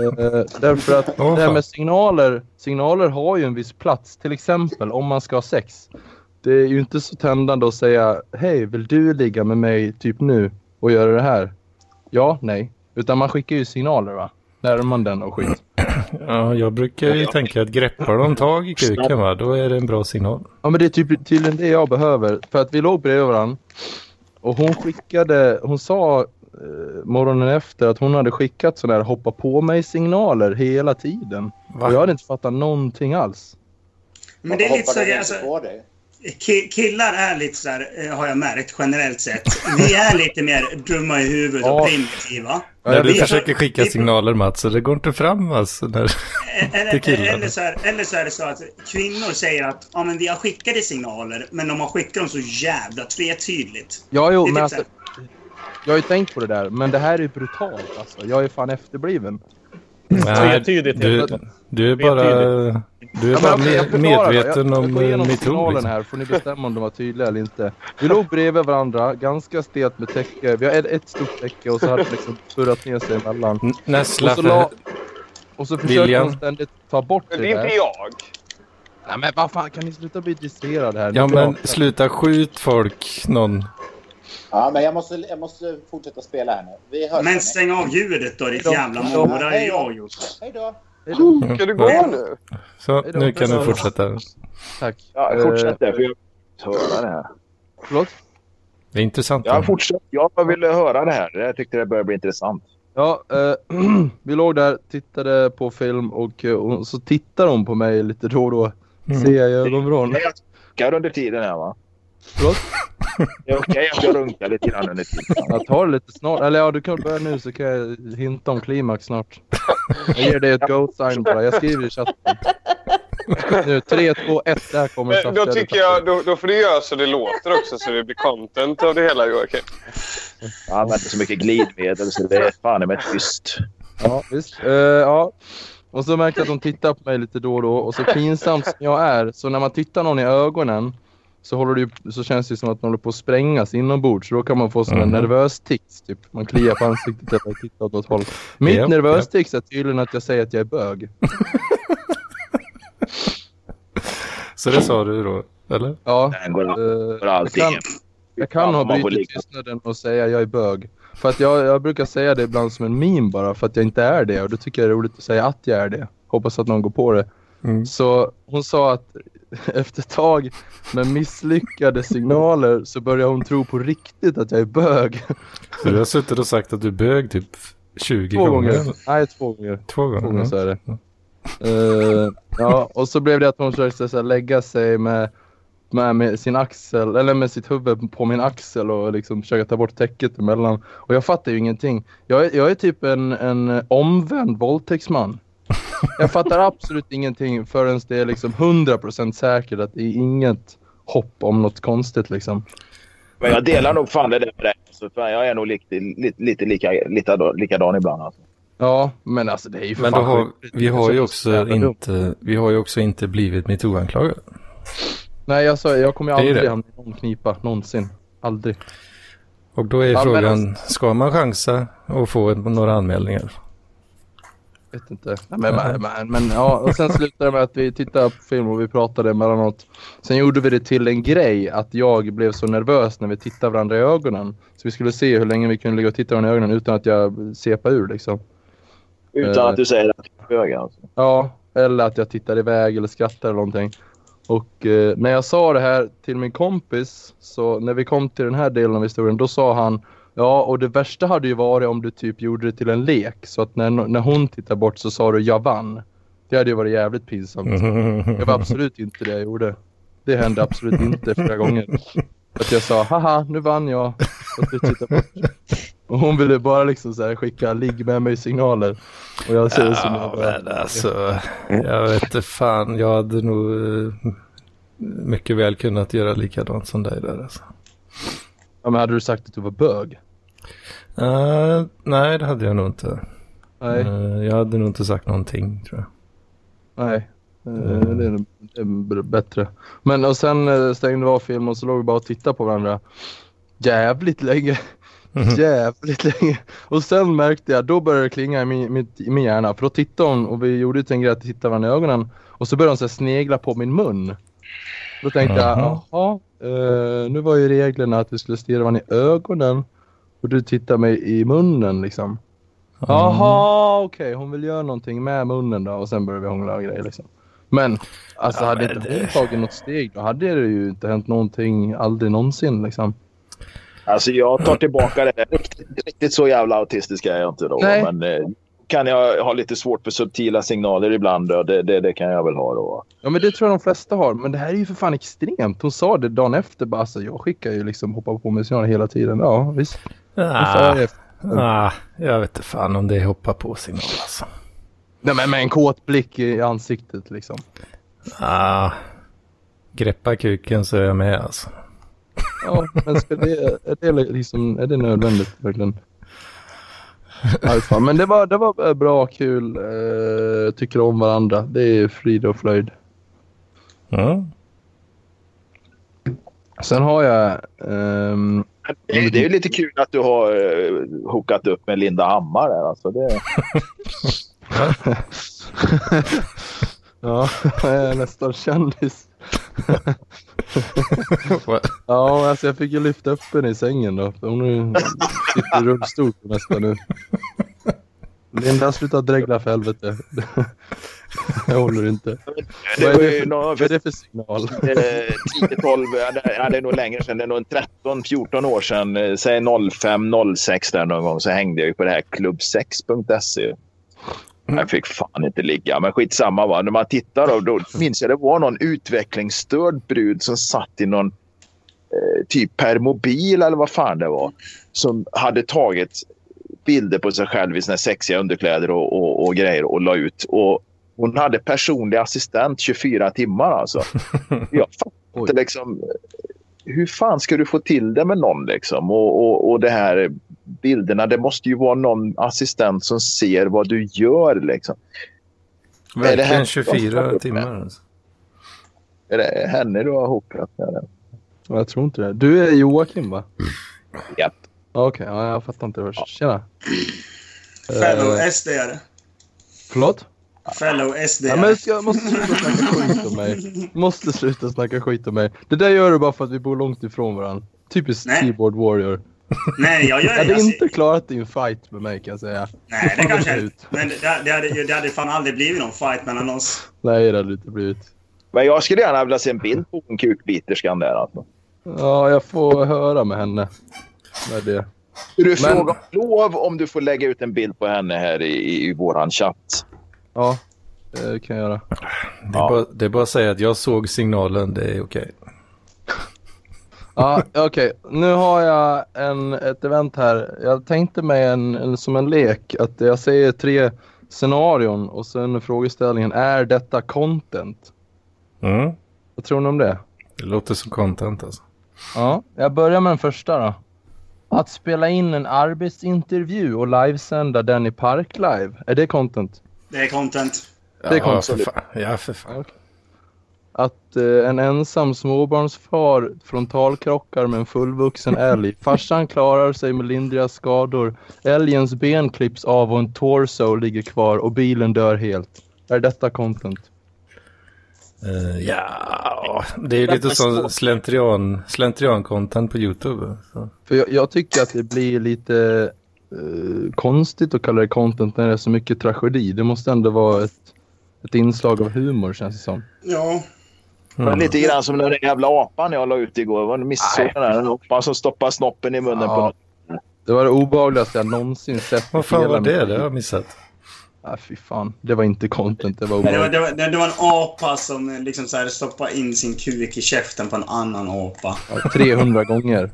[SPEAKER 14] Eh, därför att det här
[SPEAKER 1] fan.
[SPEAKER 14] med signaler, signaler har ju en viss plats. Till exempel om man ska ha sex. Det är ju inte så tändande att säga hej vill du ligga med mig typ nu och göra det här? Ja, nej. Utan man skickar ju signaler va? När man den och skit.
[SPEAKER 1] Ja, jag brukar ju tänka att greppar de tag i kuken va, då är det en bra signal.
[SPEAKER 14] Ja men det är typ, tydligen det jag behöver. För att vi låg bredvid varandra. Och hon skickade, hon sa eh, morgonen efter att hon hade skickat sådana här hoppa på mig signaler hela tiden. Och jag hade inte fattat någonting alls.
[SPEAKER 2] Men det är lite
[SPEAKER 15] Hoppar den
[SPEAKER 2] så...
[SPEAKER 15] inte
[SPEAKER 2] Alltså,
[SPEAKER 15] på dig?
[SPEAKER 2] ki- killar är lite så här, eh, har jag märkt generellt sett. Vi är lite mer dumma i huvudet och
[SPEAKER 1] Ja.
[SPEAKER 2] primitiva.
[SPEAKER 1] Nej, du
[SPEAKER 2] Vi-
[SPEAKER 1] försöker skicka signaler Mats, så det går inte fram alltså. När... till
[SPEAKER 2] Eller,
[SPEAKER 1] killar.
[SPEAKER 2] eh, eller, så här, eller så är det så att kvinnor säger att ja, men vi har skickade signaler, men de har skickat dem så jävla tvetydigt.
[SPEAKER 14] Ja, jo,
[SPEAKER 2] Det är
[SPEAKER 14] men
[SPEAKER 2] typ så
[SPEAKER 14] alltså, jag har ju tänkt på det där. Men det här är ju brutalt alltså. Jag är fan efterbliven.
[SPEAKER 5] Tvetydigt
[SPEAKER 1] Mm. du,
[SPEAKER 5] heter det.
[SPEAKER 1] du är bara, du är
[SPEAKER 14] Ja, men
[SPEAKER 1] bara
[SPEAKER 14] okej, jag
[SPEAKER 1] med,
[SPEAKER 14] förklarar då.
[SPEAKER 1] medveten
[SPEAKER 14] jag,
[SPEAKER 1] om
[SPEAKER 14] Jag går
[SPEAKER 1] eh,
[SPEAKER 14] igenom
[SPEAKER 1] metoo.
[SPEAKER 14] signalen
[SPEAKER 1] Liksom.
[SPEAKER 14] här, får ni bestämma om de var tydliga eller inte. Vi låg bredvid varandra, ganska stelt med täcke. Vi har ett, ett stort täcke och så hade det liksom surrat ner sig emellan.
[SPEAKER 1] näsla
[SPEAKER 14] och så, la,
[SPEAKER 1] för-
[SPEAKER 14] och så försökte
[SPEAKER 1] William.
[SPEAKER 14] han ständigt ta bort det
[SPEAKER 4] Men det är inte
[SPEAKER 14] där.
[SPEAKER 4] jag.
[SPEAKER 14] Nej men vad fan, kan ni sluta bli distraherade här?
[SPEAKER 1] Ja
[SPEAKER 14] Nu
[SPEAKER 1] men
[SPEAKER 14] pratar jag.
[SPEAKER 1] sluta skjut folk någon.
[SPEAKER 15] Ja, men jag måste, jag måste fortsätta spela här nu. Vi hörs.
[SPEAKER 2] Men stäng av ljudet då, ditt jävla mora. Det är jag, Jocke.
[SPEAKER 15] Hej då!
[SPEAKER 7] Ska du gå nu?
[SPEAKER 1] Så nu kan du fortsätta.
[SPEAKER 14] Tack. Eh,
[SPEAKER 4] Ja, fortsätt där, för jag vill höra det här.
[SPEAKER 14] Förlåt?
[SPEAKER 1] Det är intressant.
[SPEAKER 4] Jag, fortsätt, jag ville höra det här. Jag tyckte det började bli intressant.
[SPEAKER 14] Ja, eh, vi låg där, tittade på film och, eh, och så tittar hon på mig lite då och då. Ser jag i ögonvrån.
[SPEAKER 4] Jag runkar under tiden här va?
[SPEAKER 14] Förlåt?
[SPEAKER 4] Det är okej att jag runkar lite grann under tiden.
[SPEAKER 14] Jag tar det lite snart. Eller ja, du kan börja nu så kan jag hinta om klimax snart. Jag ger dig ett go sign bara. Jag skriver i chatten. Nu, 3, 2, 1. Där kommer
[SPEAKER 7] Men Eh, då
[SPEAKER 14] saftiga
[SPEAKER 7] tycker jag, då, då får du göra så det låter också så det blir content av det hela Joakim.
[SPEAKER 4] Jag använder så mycket glidmedel så det är fan i mig tyst.
[SPEAKER 14] Ja, visst. Eh, ja. Och så märkte jag att de tittar på mig lite då och då. Och så pinsamt som jag är, så när man tittar någon i ögonen så, håller det ju, så känns det ju som att man håller på att sprängas inombords. Så då kan man få sån här
[SPEAKER 1] Mhm.
[SPEAKER 14] nervös tics. Typ. Man kliar på ansiktet eller tittar åt något håll. Mitt
[SPEAKER 1] Japp,
[SPEAKER 14] nervös
[SPEAKER 1] japp.
[SPEAKER 14] tics är tydligen att jag säger att jag är bög.
[SPEAKER 1] Så det sa du då, eller?
[SPEAKER 14] Ja.
[SPEAKER 4] Den går,
[SPEAKER 14] eh,
[SPEAKER 4] går allting.
[SPEAKER 14] jag kan- Jag kan ha
[SPEAKER 4] man får
[SPEAKER 14] brutit
[SPEAKER 4] ligga.
[SPEAKER 14] tystnaden och säga jag är bög. För att jag, jag brukar säga det ibland som en meme bara för att jag inte är det. Och då tycker jag det är roligt att säga att jag är det. Hoppas att någon går på det.
[SPEAKER 1] Mm.
[SPEAKER 14] Så hon sa att efter ett tag med misslyckade signaler så börjar hon tro på riktigt att jag är bög.
[SPEAKER 1] Så du har suttit och sagt att du bög typ 20
[SPEAKER 14] Två
[SPEAKER 1] gånger.
[SPEAKER 14] gånger. Nej, två gånger.
[SPEAKER 1] Två gånger,
[SPEAKER 14] Två gånger
[SPEAKER 1] ja.
[SPEAKER 14] så är det. Eh, ja, och så blev det att hon försökte så här, lägga sig med, med, med sin axel, eller med sitt huvud på min axel och liksom försöka ta bort täcket emellan. Och jag fattar ju ingenting. Jag, är- jag är typ en, en omvänd våldtäktsman. Jag fattar absolut ingenting förrän det är liksom 100% säkert att det är inget hopp om något konstigt liksom.
[SPEAKER 4] Men jag delar nog fan det där med dig. Så fan, jag är nog lite, lite, lite lika, lika, likadan ibland. Alltså.
[SPEAKER 14] Ja, men alltså det är ju för
[SPEAKER 1] Men då
[SPEAKER 14] fan
[SPEAKER 1] har,
[SPEAKER 14] sjukt.
[SPEAKER 1] vi,
[SPEAKER 14] Jag
[SPEAKER 1] har ju
[SPEAKER 14] känner-
[SPEAKER 1] också inte, vi har ju också inte blivit metoo-anklagade.
[SPEAKER 14] Nej, jag sa jag kommer ju
[SPEAKER 1] Det är ju
[SPEAKER 14] aldrig
[SPEAKER 1] det.
[SPEAKER 14] hamna i någon knipa. Någonsin. Aldrig.
[SPEAKER 1] Och då är
[SPEAKER 14] Ja, men
[SPEAKER 1] frågan, ska man chansa och få en- några anmälningar?
[SPEAKER 14] Vet inte. Nej, men, men, men, men, ja, och sen slutade det med att vi tittade på film och vi pratade emellanåt. Sen gjorde vi det till en grej att jag blev så nervös när vi tittade varandra i ögonen. Så vi skulle se hur länge vi kunde ligga och titta varandra i ögonen utan att jag sepade ur liksom. Eh.
[SPEAKER 4] Utan att du säger att du är bög alltså.
[SPEAKER 14] Ja, eller att jag tittar iväg eller skrattar eller någonting. Och eh, när jag sa det här till min kompis, så när vi kom till den här delen av historien, då sa han Ja, och det värsta hade ju varit om du typ gjorde det till en lek. Så att när, när hon tittar bort så sa du jag vann. Det hade ju varit jävligt pinsamt. Det var absolut inte det jag gjorde. Det hände absolut inte flera gånger. Att jag sa haha, nu vann jag. Och du tittar bort. Och hon ville bara liksom så här skicka ligg med mig signaler. Och jag säger som jag
[SPEAKER 1] Ja, men alltså,
[SPEAKER 14] Mm.
[SPEAKER 1] jag vet inte fan, jag hade nog eh, mycket väl kunnat göra likadant som dig där alltså.
[SPEAKER 14] Ja, men hade du sagt att du var bög?
[SPEAKER 1] Eh, nej, det hade jag nog inte.
[SPEAKER 14] Nej.
[SPEAKER 1] Eh, jag hade nog inte sagt någonting tror jag.
[SPEAKER 14] Nej, eh, det är, det är b- bättre. Men och sen eh, stängde vi av filmen och så låg vi bara och tittade på varandra. Jävligt länge.
[SPEAKER 1] Mhm.
[SPEAKER 14] Jävligt länge. Och sen märkte jag, då började det klinga i min, mitt- i min hjärna. För då tittade hon och vi gjorde ju till en grej att titta varandra i ögonen. Och så började hon så här snegla på min mun. Då tänkte jag,
[SPEAKER 1] Mhm.
[SPEAKER 14] jaha, eh, nu var ju reglerna att vi skulle stirra varandra i ögonen. Och du tittar mig i munnen liksom. Jaha, okej. Hon vill göra någonting med munnen då och sen börjar vi hångla och grejer liksom. Men alltså
[SPEAKER 1] Ja,
[SPEAKER 14] hade
[SPEAKER 1] men
[SPEAKER 14] inte
[SPEAKER 1] det-
[SPEAKER 14] hon tagit något steg då hade det ju inte hänt någonting aldrig någonsin liksom.
[SPEAKER 4] Alltså jag tar tillbaka det. där. Riktigt, riktigt så jävla autistisk är jag inte då.
[SPEAKER 14] Nej.
[SPEAKER 4] Men eh, kan jag ha lite svårt för subtila signaler ibland. Och det, det, det kan jag väl ha då.
[SPEAKER 14] Ja men det tror jag de flesta har. Men det här är ju för fan extremt. Hon sa det dagen efter bara alltså jag skickar ju liksom hoppa på mig signaler hela tiden. Ja visst.
[SPEAKER 1] Ah, ah, jag vet inte fan om det är hoppa på signal alltså.
[SPEAKER 14] Nej men med en kåt blick i ansiktet liksom.
[SPEAKER 1] Ah, greppa kuken så är jag med alltså.
[SPEAKER 14] Ja men ska det, är, det liksom, är det nödvändigt verkligen? Nej, fan. Men det var, det var bra, kul, eh, tycker om varandra. Det är frid och fröjd. Sen har jag... ehm,
[SPEAKER 4] Det, det är ju lite kul att du har uh, hookat upp med Linda Hammar. Där, alltså det...
[SPEAKER 14] ja, jag är nästan kändis. ja, alltså jag fick ju lyfta upp henne i sängen då. För hon sitter i rullstol nästan nu. Linda, sluta dregla för helvete. Jag håller inte.
[SPEAKER 4] Det
[SPEAKER 14] Vad är
[SPEAKER 4] var
[SPEAKER 14] det
[SPEAKER 4] ju
[SPEAKER 14] för,
[SPEAKER 4] någon-
[SPEAKER 14] vad är det för signal?
[SPEAKER 4] Eh, 10, 12, ja, det- ja, det är nog längre sedan. Det är nog en 13, 14 år sedan. eh, Säg 05, 06 där någon gång så hängde jag ju på det här klubb6.se.
[SPEAKER 14] Mm.
[SPEAKER 4] Jag fick fan inte ligga, men skitsamma. Va? När man tittar då, då minns jag det var någon utvecklingsstörd brud som satt i någon eh, typ permobil eller vad fan det var. Som hade tagit bilder på sig själv i sina sexiga underkläder och, och, och grejer och la ut. Och hon hade personlig assistent 24 timmar alltså. Jag fattar inte liksom. Hur fan ska du få till det med någon liksom? Och, och, och det här bilderna. Det måste ju vara någon assistent som ser vad du gör liksom. Är det
[SPEAKER 1] Verkligen
[SPEAKER 4] här-
[SPEAKER 1] 24 timmar.
[SPEAKER 14] Mm.
[SPEAKER 1] Alltså.
[SPEAKER 4] Är det henne du har hoprat med?
[SPEAKER 14] Ja, Jag tror inte det. Du är Joakim va?
[SPEAKER 4] Japp.
[SPEAKER 14] Ja, Okej, ja, jag fattar inte. först. Tjena.
[SPEAKER 2] Fellow
[SPEAKER 14] Eh,
[SPEAKER 2] SD är det.
[SPEAKER 14] Förlåt?
[SPEAKER 2] Fellow SD.
[SPEAKER 14] Ja, men jag ska- jag måste sluta snacka skit om mig. Måste sluta snacka skit om mig. Det där gör du bara för att vi bor långt ifrån varandra. Typiskt keyboard warrior.
[SPEAKER 2] Nej, jag gör
[SPEAKER 14] Jag hade
[SPEAKER 2] jag ser-
[SPEAKER 14] inte klarat din fight med mig kan jag säga.
[SPEAKER 2] Nej, det kanske... Men det, det, hade, ju- det hade fan aldrig blivit någon fight mellan oss.
[SPEAKER 14] Nej, det hade det inte blivit.
[SPEAKER 4] Men jag skulle gärna vilja se en bild på hon kukbiterskan där alltså.
[SPEAKER 14] Ja, jag får höra med henne. Med det.
[SPEAKER 4] Du
[SPEAKER 14] Men-
[SPEAKER 4] frågar om lov om du får lägga ut en bild på henne här i, i, i våran chatt.
[SPEAKER 14] Ja, det kan jag göra.
[SPEAKER 1] Det, är bara, det är bara att säga att jag såg signalen, det är okej.
[SPEAKER 14] Ja, okej. Nu har jag en, ett event här. Jag tänkte mig en, en, som en lek att jag säger tre scenarion och sen frågeställningen är detta content?
[SPEAKER 1] Mm.
[SPEAKER 14] Vad tror ni om det?
[SPEAKER 1] Det låter som content alltså.
[SPEAKER 14] Ja, jag börjar med den första då. Att spela in en arbetsintervju och livesända den i Parklive, är det content?
[SPEAKER 2] Det är content.
[SPEAKER 14] Det är content.
[SPEAKER 1] Ja, för fan. Ja, för fan.
[SPEAKER 14] Att eh, en ensam småbarnsfar frontalkrockar med en fullvuxen älg. Farsan klarar sig med lindriga skador. Älgens ben klipps av och en torso ligger kvar och bilen dör helt. Är detta content?
[SPEAKER 1] Eh, ja, det är ju lite som slentrian, slentrian-content på YouTube. Så.
[SPEAKER 14] För jag, jag tycker att det blir lite eh, konstigt att kalla det content när det är så mycket tragedi. Det måste ändå vara ett, ett inslag av humor känns det som.
[SPEAKER 2] Ja.
[SPEAKER 4] Det var Lite grann som den där jävla apan jag la ut igår. Var ni missade den där apan som stoppar snoppen i munnen på
[SPEAKER 14] Ja.
[SPEAKER 4] någon.
[SPEAKER 14] Det var det obehagligaste jag någonsin sett.
[SPEAKER 1] Vad fan var det? Det har jag missat.
[SPEAKER 14] Ah, fy fan. Det var inte content, det var
[SPEAKER 1] Oh
[SPEAKER 2] Nej, Det var,
[SPEAKER 14] obehagligt.
[SPEAKER 2] det, var, det det var en apa som eh, liksom så här stoppade in sin kuk i käften på en annan apa.
[SPEAKER 14] Ja, 300 gånger.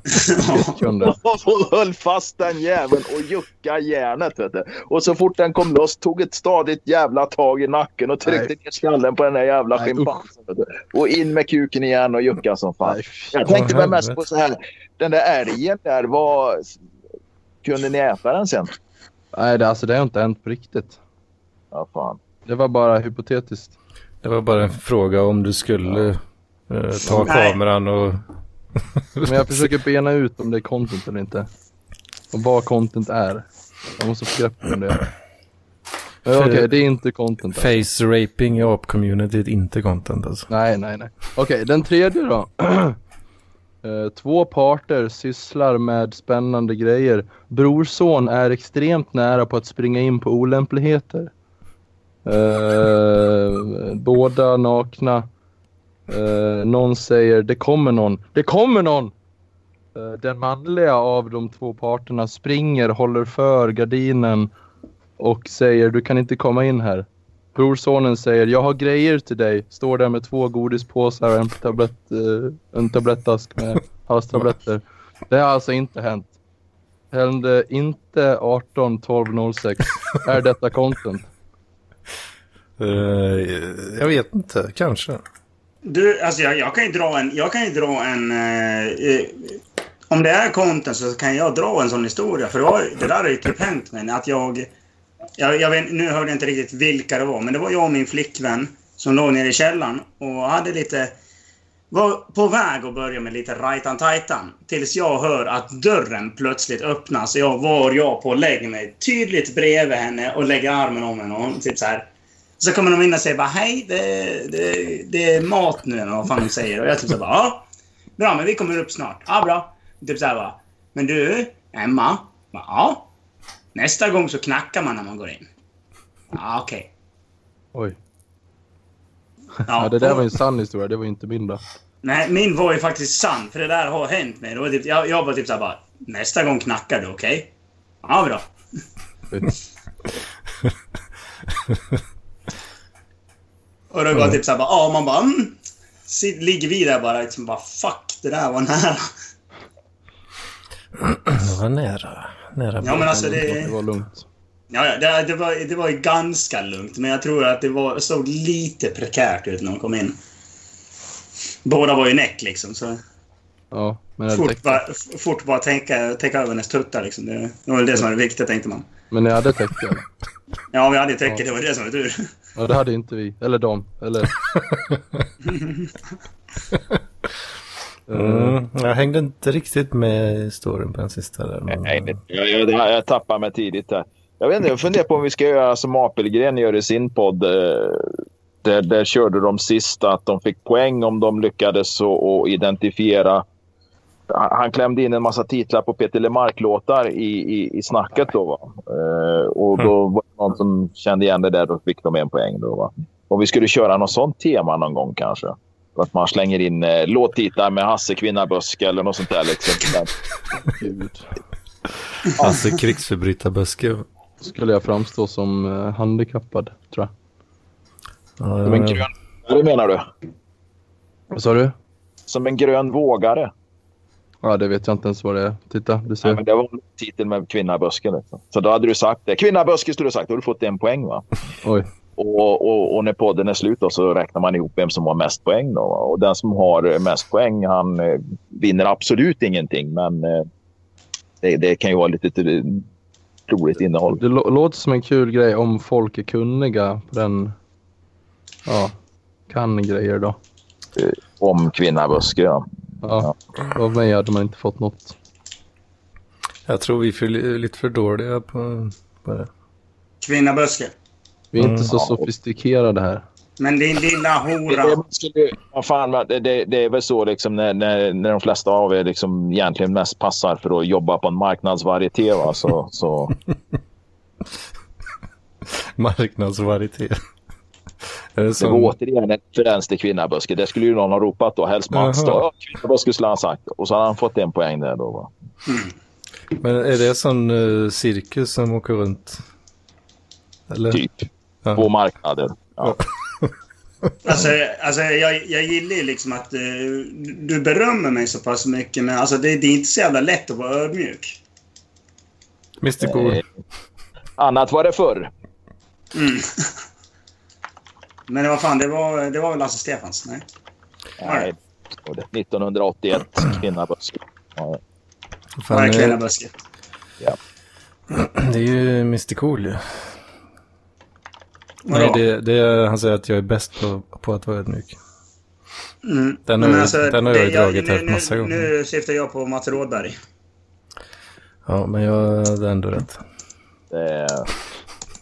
[SPEAKER 14] Sekunder.
[SPEAKER 4] Hon höll fast den jäveln och juckade järnet. Vet du. Och så fort den kom loss tog ett stadigt jävla tag i nacken och tryckte
[SPEAKER 14] Nej.
[SPEAKER 4] ner skallen på den där jävla
[SPEAKER 14] Nej,
[SPEAKER 4] schimpansen. vet du. Och in med kuken igen och jucka som fan. Jag tänkte
[SPEAKER 14] Åh,
[SPEAKER 4] mig mest
[SPEAKER 14] helvete.
[SPEAKER 4] på så här. Den där älgen där, vad... Kunde ni äta den sen?
[SPEAKER 14] Nej, det, alltså, det har inte hänt på riktigt.
[SPEAKER 4] Ja, fan.
[SPEAKER 14] Det var bara hypotetiskt.
[SPEAKER 1] Det var bara en fråga om du skulle eh, ta
[SPEAKER 14] Nej.
[SPEAKER 1] kameran och...
[SPEAKER 14] Men jag försöker bena ut om det är content eller inte. Och vad content är. Jag måste få grepp om det. Men Okej, det är inte content. Alltså.
[SPEAKER 1] Face raping i ap-communityt, inte content alltså.
[SPEAKER 14] Nej, nej, nej. Okej, den tredje då. Eh, Två parter sysslar med spännande grejer. Brorson är extremt nära på att springa in på olämpligheter. Eh, båda nakna. Eh, någon säger det kommer någon. Det kommer någon! Eh, den manliga av de två parterna springer, håller för gardinen och säger du kan inte komma in här. Brorsonen säger jag har grejer till dig. Står där med två godispåsar och en, tablett, eh, en tablettask med halstabletter. Det har alltså inte hänt. Hände inte 18 12 06. Är detta content?
[SPEAKER 1] Eh, jag vet inte, kanske.
[SPEAKER 2] Du, alltså jag, jag kan ju dra en... Jag kan ju dra en eh, eh, om det är content så kan jag dra en sån historia. För det, var, det där har ju typ hänt mig. Att jag, jag, jag vet, nu hörde jag inte riktigt vilka det var, men det var jag och min flickvän som låg nere i källaren och hade lite... Var på väg att börja med lite rajtan-tajtan. Tills jag hör att dörren plötsligt öppnas. Jag var jag på att lägga mig tydligt bredvid henne och lägga armen om henne. Och hon typ så här... Så kommer de in och säger bara hej, det, det, det är mat nu eller vad fan de säger. Och jag typ så här bara ja. Bra, men vi kommer upp snart. Ja, bra. Typ så här bara. Men du, Emma? Bara, ja? Nästa gång så knackar man när man går in. Ja, okej.
[SPEAKER 14] Oj.
[SPEAKER 2] Ja,
[SPEAKER 14] Ja, det där var ju en sann historia. Det var ju inte min då.
[SPEAKER 2] Nej, min var ju faktiskt sann, för det där har hänt mig. Det var typ, jag, jag var typ såhär bara, nästa gång knackar du, okej? Ja, bra. Och då var jag typ såhär bara, ja, och man bara, mm. Sit- Ligger vi där bara liksom bara, fuck, det där var nära.
[SPEAKER 1] Det var nära. nära
[SPEAKER 2] Ja, men alltså det- Det var
[SPEAKER 14] lugnt.
[SPEAKER 2] Ja, ja, det, det, var, det var ju ganska lugnt, men jag tror att det var, såg lite prekärt ut när de kom in. Båda var ju näck liksom, så
[SPEAKER 14] Ja, men jag hade
[SPEAKER 2] fort
[SPEAKER 14] täckt
[SPEAKER 2] bara, f- fort bara tänka, tänka över hennes tuttar liksom. Det, det var väl det som var det viktiga, tänkte man.
[SPEAKER 14] Men jag hade täckt det.
[SPEAKER 2] Ja, vi hade ju täcke, det var det som var tur.
[SPEAKER 14] Ja, det hade inte vi. Eller de. Eller... Eh.
[SPEAKER 1] Mm, jag hängde inte riktigt med i storyn på den sista där. Men...
[SPEAKER 4] Nej, det- jag, jag, jag, jag tappar mig tidigt här. Jag vet inte, jag funderar på om vi ska göra som Apelgren gör i sin podd. eh, Där, där körde de sist att de fick poäng om de lyckades och, och identifiera. Han, han klämde in en massa titlar på Peter Lemark-låtar i, i, i snacket. Då, va? Eh, och då var det någon som kände igen det där. Då fick de en poäng. Då, va? Om vi skulle köra något sånt tema någon gång kanske. Att man slänger in eh, låttitlar med Hasse Kvinnabuske eller något sånt där. Liksom.
[SPEAKER 1] Alltså krigsförbrytarböske.
[SPEAKER 14] Skulle jag framstå som eh, handikappad, tror jag.
[SPEAKER 4] Som en grön vågare menar du?
[SPEAKER 14] Vad sa du?
[SPEAKER 4] Som en grön vågare.
[SPEAKER 14] Ja, det vet jag inte ens vad det är. Titta, du ser.
[SPEAKER 4] Nej, men det var en titel med kvinnaböske. Liksom. Så då hade du sagt det. Kvinnaböske skulle du sagt. Då hade du fått en poäng. va?
[SPEAKER 14] Oj.
[SPEAKER 4] Och, och, och när podden är slut då, så räknar man ihop vem som har mest poäng. Då, va? och den som har mest poäng han eh, vinner absolut ingenting. Men eh, det, det kan ju vara lite eh, roligt innehåll.
[SPEAKER 14] Det lå- låter som en kul grej om folk är kunniga på den... Ja, kan grejer då.
[SPEAKER 4] Eh, om kvinnaböske. Ja.
[SPEAKER 14] Ja, av mig hade man inte fått något.
[SPEAKER 1] Jag tror vi är för, li- lite för dåliga på, på det.
[SPEAKER 2] Kvinnaböske.
[SPEAKER 14] Vi är inte
[SPEAKER 1] Mm.
[SPEAKER 14] så sofistikerade här.
[SPEAKER 2] Men din lilla hora.
[SPEAKER 4] Det, skulle, vad fan, va, det, det, det är väl så liksom när, när, när de flesta av er liksom egentligen mest passar för att jobba på en marknadsvarieté. Va? Så, så,
[SPEAKER 1] Marknadsvarieté. Är det
[SPEAKER 4] det
[SPEAKER 1] som...
[SPEAKER 4] var återigen en referens till kvinnaböske. Det skulle ju någon ha ropat då. Helst Mats. då.
[SPEAKER 1] Jaha.
[SPEAKER 4] Ja, Kvinnaböske skulle han ha sagt. Och så hade han fått en poäng där då. Va?
[SPEAKER 1] Men är det sån eh, cirkus som åker runt? Eller?
[SPEAKER 4] Typ.
[SPEAKER 1] Ja.
[SPEAKER 4] På marknaden. Ja.
[SPEAKER 2] Alltså, alltså jag, jag gillar ju liksom att eh, du berömmer mig så pass mycket, men alltså det, det är inte så jävla lätt att vara ödmjuk.
[SPEAKER 1] Mr
[SPEAKER 4] Eh.
[SPEAKER 1] Cool.
[SPEAKER 4] Annat var det förr.
[SPEAKER 2] Mm. Men vad fan, det var, det var väl Lasse Stefans? Nej.
[SPEAKER 4] Nej. Och det- 1981 kvinnaböske. Ja.
[SPEAKER 1] Fan,
[SPEAKER 2] Bara
[SPEAKER 1] eh,
[SPEAKER 2] kvinnaböske.
[SPEAKER 1] Det är ju Mr Cool ju.
[SPEAKER 2] Vadå?
[SPEAKER 1] Nej, det, det, är- han säger att jag är bäst på, på att vara ödmjuk.
[SPEAKER 2] Mm.
[SPEAKER 1] Den
[SPEAKER 2] Men
[SPEAKER 1] har- den har jag ju
[SPEAKER 2] det-
[SPEAKER 1] dragit här
[SPEAKER 2] nu,
[SPEAKER 1] massa
[SPEAKER 2] nu,
[SPEAKER 1] gånger.
[SPEAKER 2] Nu syftar jag på Mats Rådberg.
[SPEAKER 1] Ja, men jag hade ändå rätt.
[SPEAKER 4] Det, Eh,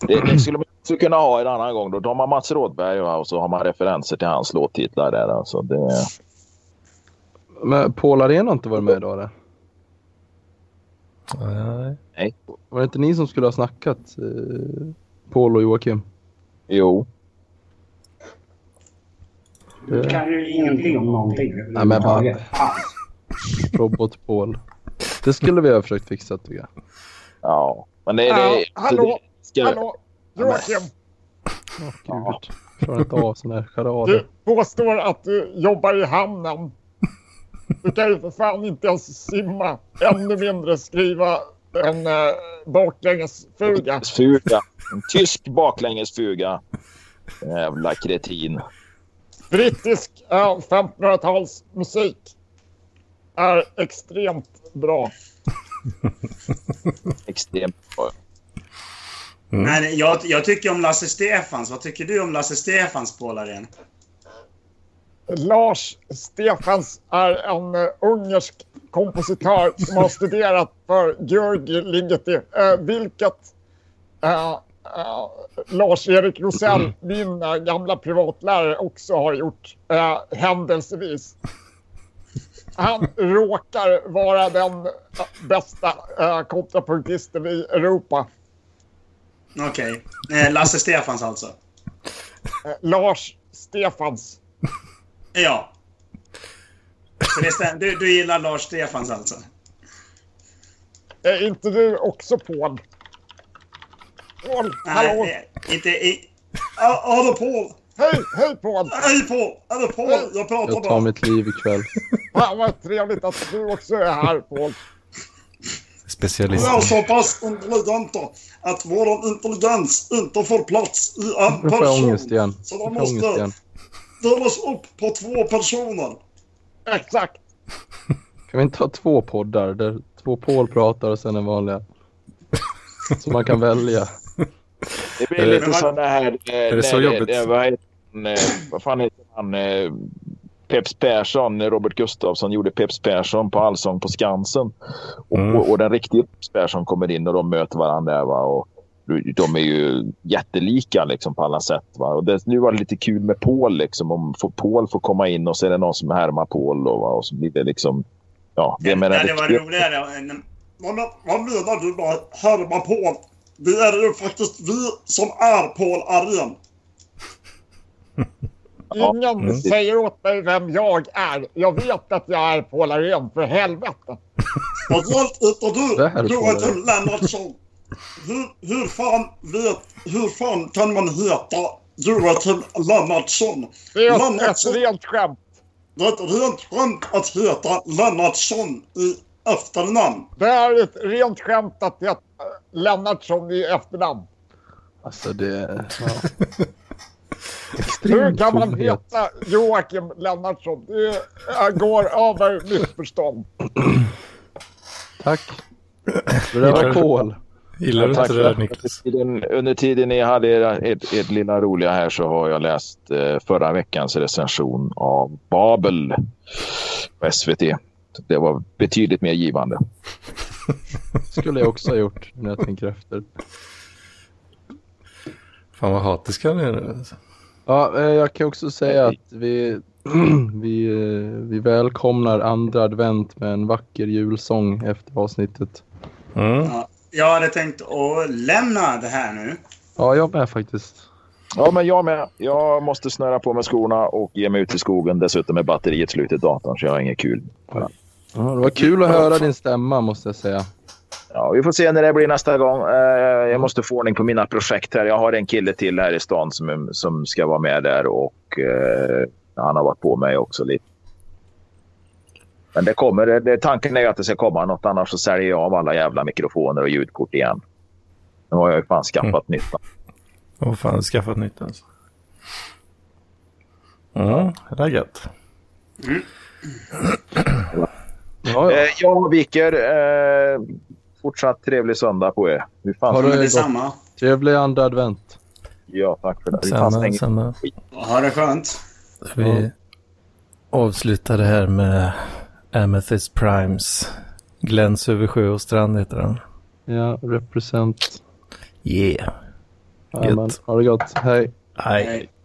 [SPEAKER 4] det, det skulle man också kunna ha en annan gång. Då, då har man Mats Rådberg va? och så har man referenser till hans låttitlar. Där, alltså det...
[SPEAKER 14] Men Paul Arena har inte varit med idag eller?
[SPEAKER 4] Nej.
[SPEAKER 14] Var det inte ni som skulle ha snackat? Eh, Paul och Joakim?
[SPEAKER 4] Jo.
[SPEAKER 14] Det-
[SPEAKER 16] kan ju ingenting om någonting.
[SPEAKER 14] Nej, men vad- Robot-Paul. Det skulle vi ha försökt fixa tycker jag.
[SPEAKER 4] Ja, men det, det,
[SPEAKER 16] hallå,
[SPEAKER 4] ska-
[SPEAKER 16] hallå, Joakim.
[SPEAKER 14] Ja. Klarar inte av sådana här
[SPEAKER 16] Du
[SPEAKER 14] charader.
[SPEAKER 16] påstår att du jobbar i hamnen. Du kan ju för fan inte ens simma. Ännu mindre skriva en eh, baklängesfuga.
[SPEAKER 4] Fuga. En tysk baklängesfuga. Jävla kretin.
[SPEAKER 16] Brittisk eh, 1500-talsmusik är extremt bra.
[SPEAKER 4] Extremt bra.
[SPEAKER 1] Mm.
[SPEAKER 2] Nej, nej, jag, jag tycker om Lasse Stefans. Vad tycker du om Lasse Stefans, Paul Arén?
[SPEAKER 16] Lars Stefans är en eh, ungersk kompositör som har studerat för Georgi Ligeti. Eh, vilket eh, eh, Lars-Erik Rosell, min eh, gamla privatlärare, också har gjort eh, händelsevis. Han råkar vara den eh, bästa eh, kontrapunktisten i Europa.
[SPEAKER 2] Okej. Eh, Lasse Stefans alltså?
[SPEAKER 16] Eh, Lars Stefans.
[SPEAKER 2] Ja. Så det stäm- du, du gillar Lars Stefans alltså?
[SPEAKER 16] Är inte du också Paul? Paul, hallå!
[SPEAKER 2] Nej, det- inte i... Ja, Hallå Paul!
[SPEAKER 16] Hej, hej Paul!
[SPEAKER 2] Hej Paul!
[SPEAKER 17] alltså,
[SPEAKER 2] Hallå Paul! Jag pratar
[SPEAKER 14] Jag tar
[SPEAKER 2] bara.
[SPEAKER 14] mitt liv ikväll.
[SPEAKER 16] Fan vad trevligt att du också är här Paul.
[SPEAKER 1] Specialist.
[SPEAKER 17] Vi är så pass intelligenta att vår intelligens inte får plats i en
[SPEAKER 14] Nu får jag ångest
[SPEAKER 17] person.
[SPEAKER 14] igen.
[SPEAKER 17] Så
[SPEAKER 14] Nu får
[SPEAKER 17] de
[SPEAKER 14] jag ångest
[SPEAKER 17] måste
[SPEAKER 14] igen.
[SPEAKER 17] delas upp på två personer.
[SPEAKER 16] Exakt.
[SPEAKER 14] Kan vi inte ha två poddar där två Paul pratar och sen en vanliga? Så man kan välja.
[SPEAKER 4] Det
[SPEAKER 14] Eh,
[SPEAKER 4] blir lite
[SPEAKER 14] men man-
[SPEAKER 4] sådana här... eh,
[SPEAKER 14] Är det
[SPEAKER 4] nej,
[SPEAKER 14] så jobbigt?
[SPEAKER 4] nej, vad, heter, han, eh, vad fan heter han? eh, Peps Persson, eh, Robert Gustafsson, gjorde Peps Persson på Allsång på Skansen. Och,
[SPEAKER 1] Mm.
[SPEAKER 4] och, och den riktiga Peps Persson kommer in och de möter varandra. där, Va? Och de är ju jättelika liksom, på alla sätt. Va? Och det, nu var det lite kul med Paul. Liksom, om får- Paul får komma in och så är det någon som härmar Paul. Då, va? Och så blir det liksom... Ja, vem är den
[SPEAKER 2] Ja, det var
[SPEAKER 4] riktiga?
[SPEAKER 2] roligare än...
[SPEAKER 17] Vad, men, vad menar du med härma Paul? Det är ju faktiskt vi som är Paul Arjen.
[SPEAKER 16] Ingen
[SPEAKER 17] Mm.
[SPEAKER 16] säger åt mig vem jag är. Jag vet att jag är Paul Arén, för helvete.
[SPEAKER 17] Vad hjälpt inte du,
[SPEAKER 16] Det här är Paul
[SPEAKER 17] Joakim
[SPEAKER 16] Arén.
[SPEAKER 17] Lennartsson? Hur, hur, fan vet, hur fan kan man heta Joakim Lennartsson?
[SPEAKER 16] Det är ett- ett rent skämt.
[SPEAKER 17] Det är ett rent skämt att heta Lennartsson i efternamn.
[SPEAKER 16] Det är ett rent skämt att jag äh, Lennartsson i efternamn.
[SPEAKER 14] Alltså det...
[SPEAKER 16] Hur
[SPEAKER 14] Extremt
[SPEAKER 16] kan man
[SPEAKER 14] fullhet.
[SPEAKER 16] heta Joakim Lennartsson? Det äh, går över missförstånd.
[SPEAKER 14] Tack. Det där var Paul.
[SPEAKER 1] Gillar du inte
[SPEAKER 4] Ja, tack.
[SPEAKER 1] det där Niklas?
[SPEAKER 4] Under tiden- Under tiden ni hade er, ert, ert lilla roliga här så har jag läst eh, förra veckans recension av Babel på SVT. Det var betydligt mer givande.
[SPEAKER 14] skulle jag också ha gjort när jag tänker efter.
[SPEAKER 1] Fan vad hatisk han är nu. alltså.
[SPEAKER 14] Ja, eh, jag kan också säga att vi, vi, eh, vi välkomnar andra advent med en vacker julsång efter avsnittet.
[SPEAKER 1] Mm.
[SPEAKER 14] Mm.
[SPEAKER 2] Ja, jag hade tänkt att lämna det här nu.
[SPEAKER 14] Ja, jag med faktiskt.
[SPEAKER 4] Ja, men jag med. Jag måste snöra på mig skorna och ge mig ut i skogen. Dessutom är batteriet slut i datorn så jag har inget kul.
[SPEAKER 14] Ja, det var kul att höra din stämma måste jag säga.
[SPEAKER 4] Ja, vi får se när det blir nästa gång. Eh, jag måste få ordning på mina projekt här. Jag har en kille till här i stan som, som ska vara med där och eh, han har varit på mig också lite. Men det kommer. Det, det, tanken är ju att det ska komma något annars så säljer jag av alla jävla mikrofoner och ljudkort igen. Nu har jag ju fan skaffat nytt.
[SPEAKER 1] Åh fan, skaffat nytt alltså. Mm, raggat.
[SPEAKER 4] Ja, ja. Eh, jag viker. Eh, fortsatt trevlig söndag på er. Hur fan
[SPEAKER 14] Ha det gott. Trevlig andra advent.
[SPEAKER 4] Ja, tack för det. Hur fan
[SPEAKER 1] Samma,
[SPEAKER 4] stänger-
[SPEAKER 1] samma.
[SPEAKER 2] Ha det skönt.
[SPEAKER 1] Vi avslutar det här med Amethyst Primes. Gläns över sjö och strand heter den.
[SPEAKER 14] Ja, represent.
[SPEAKER 1] Yeah.
[SPEAKER 14] Jajamän. Ha det gott. Hej.
[SPEAKER 1] Hej.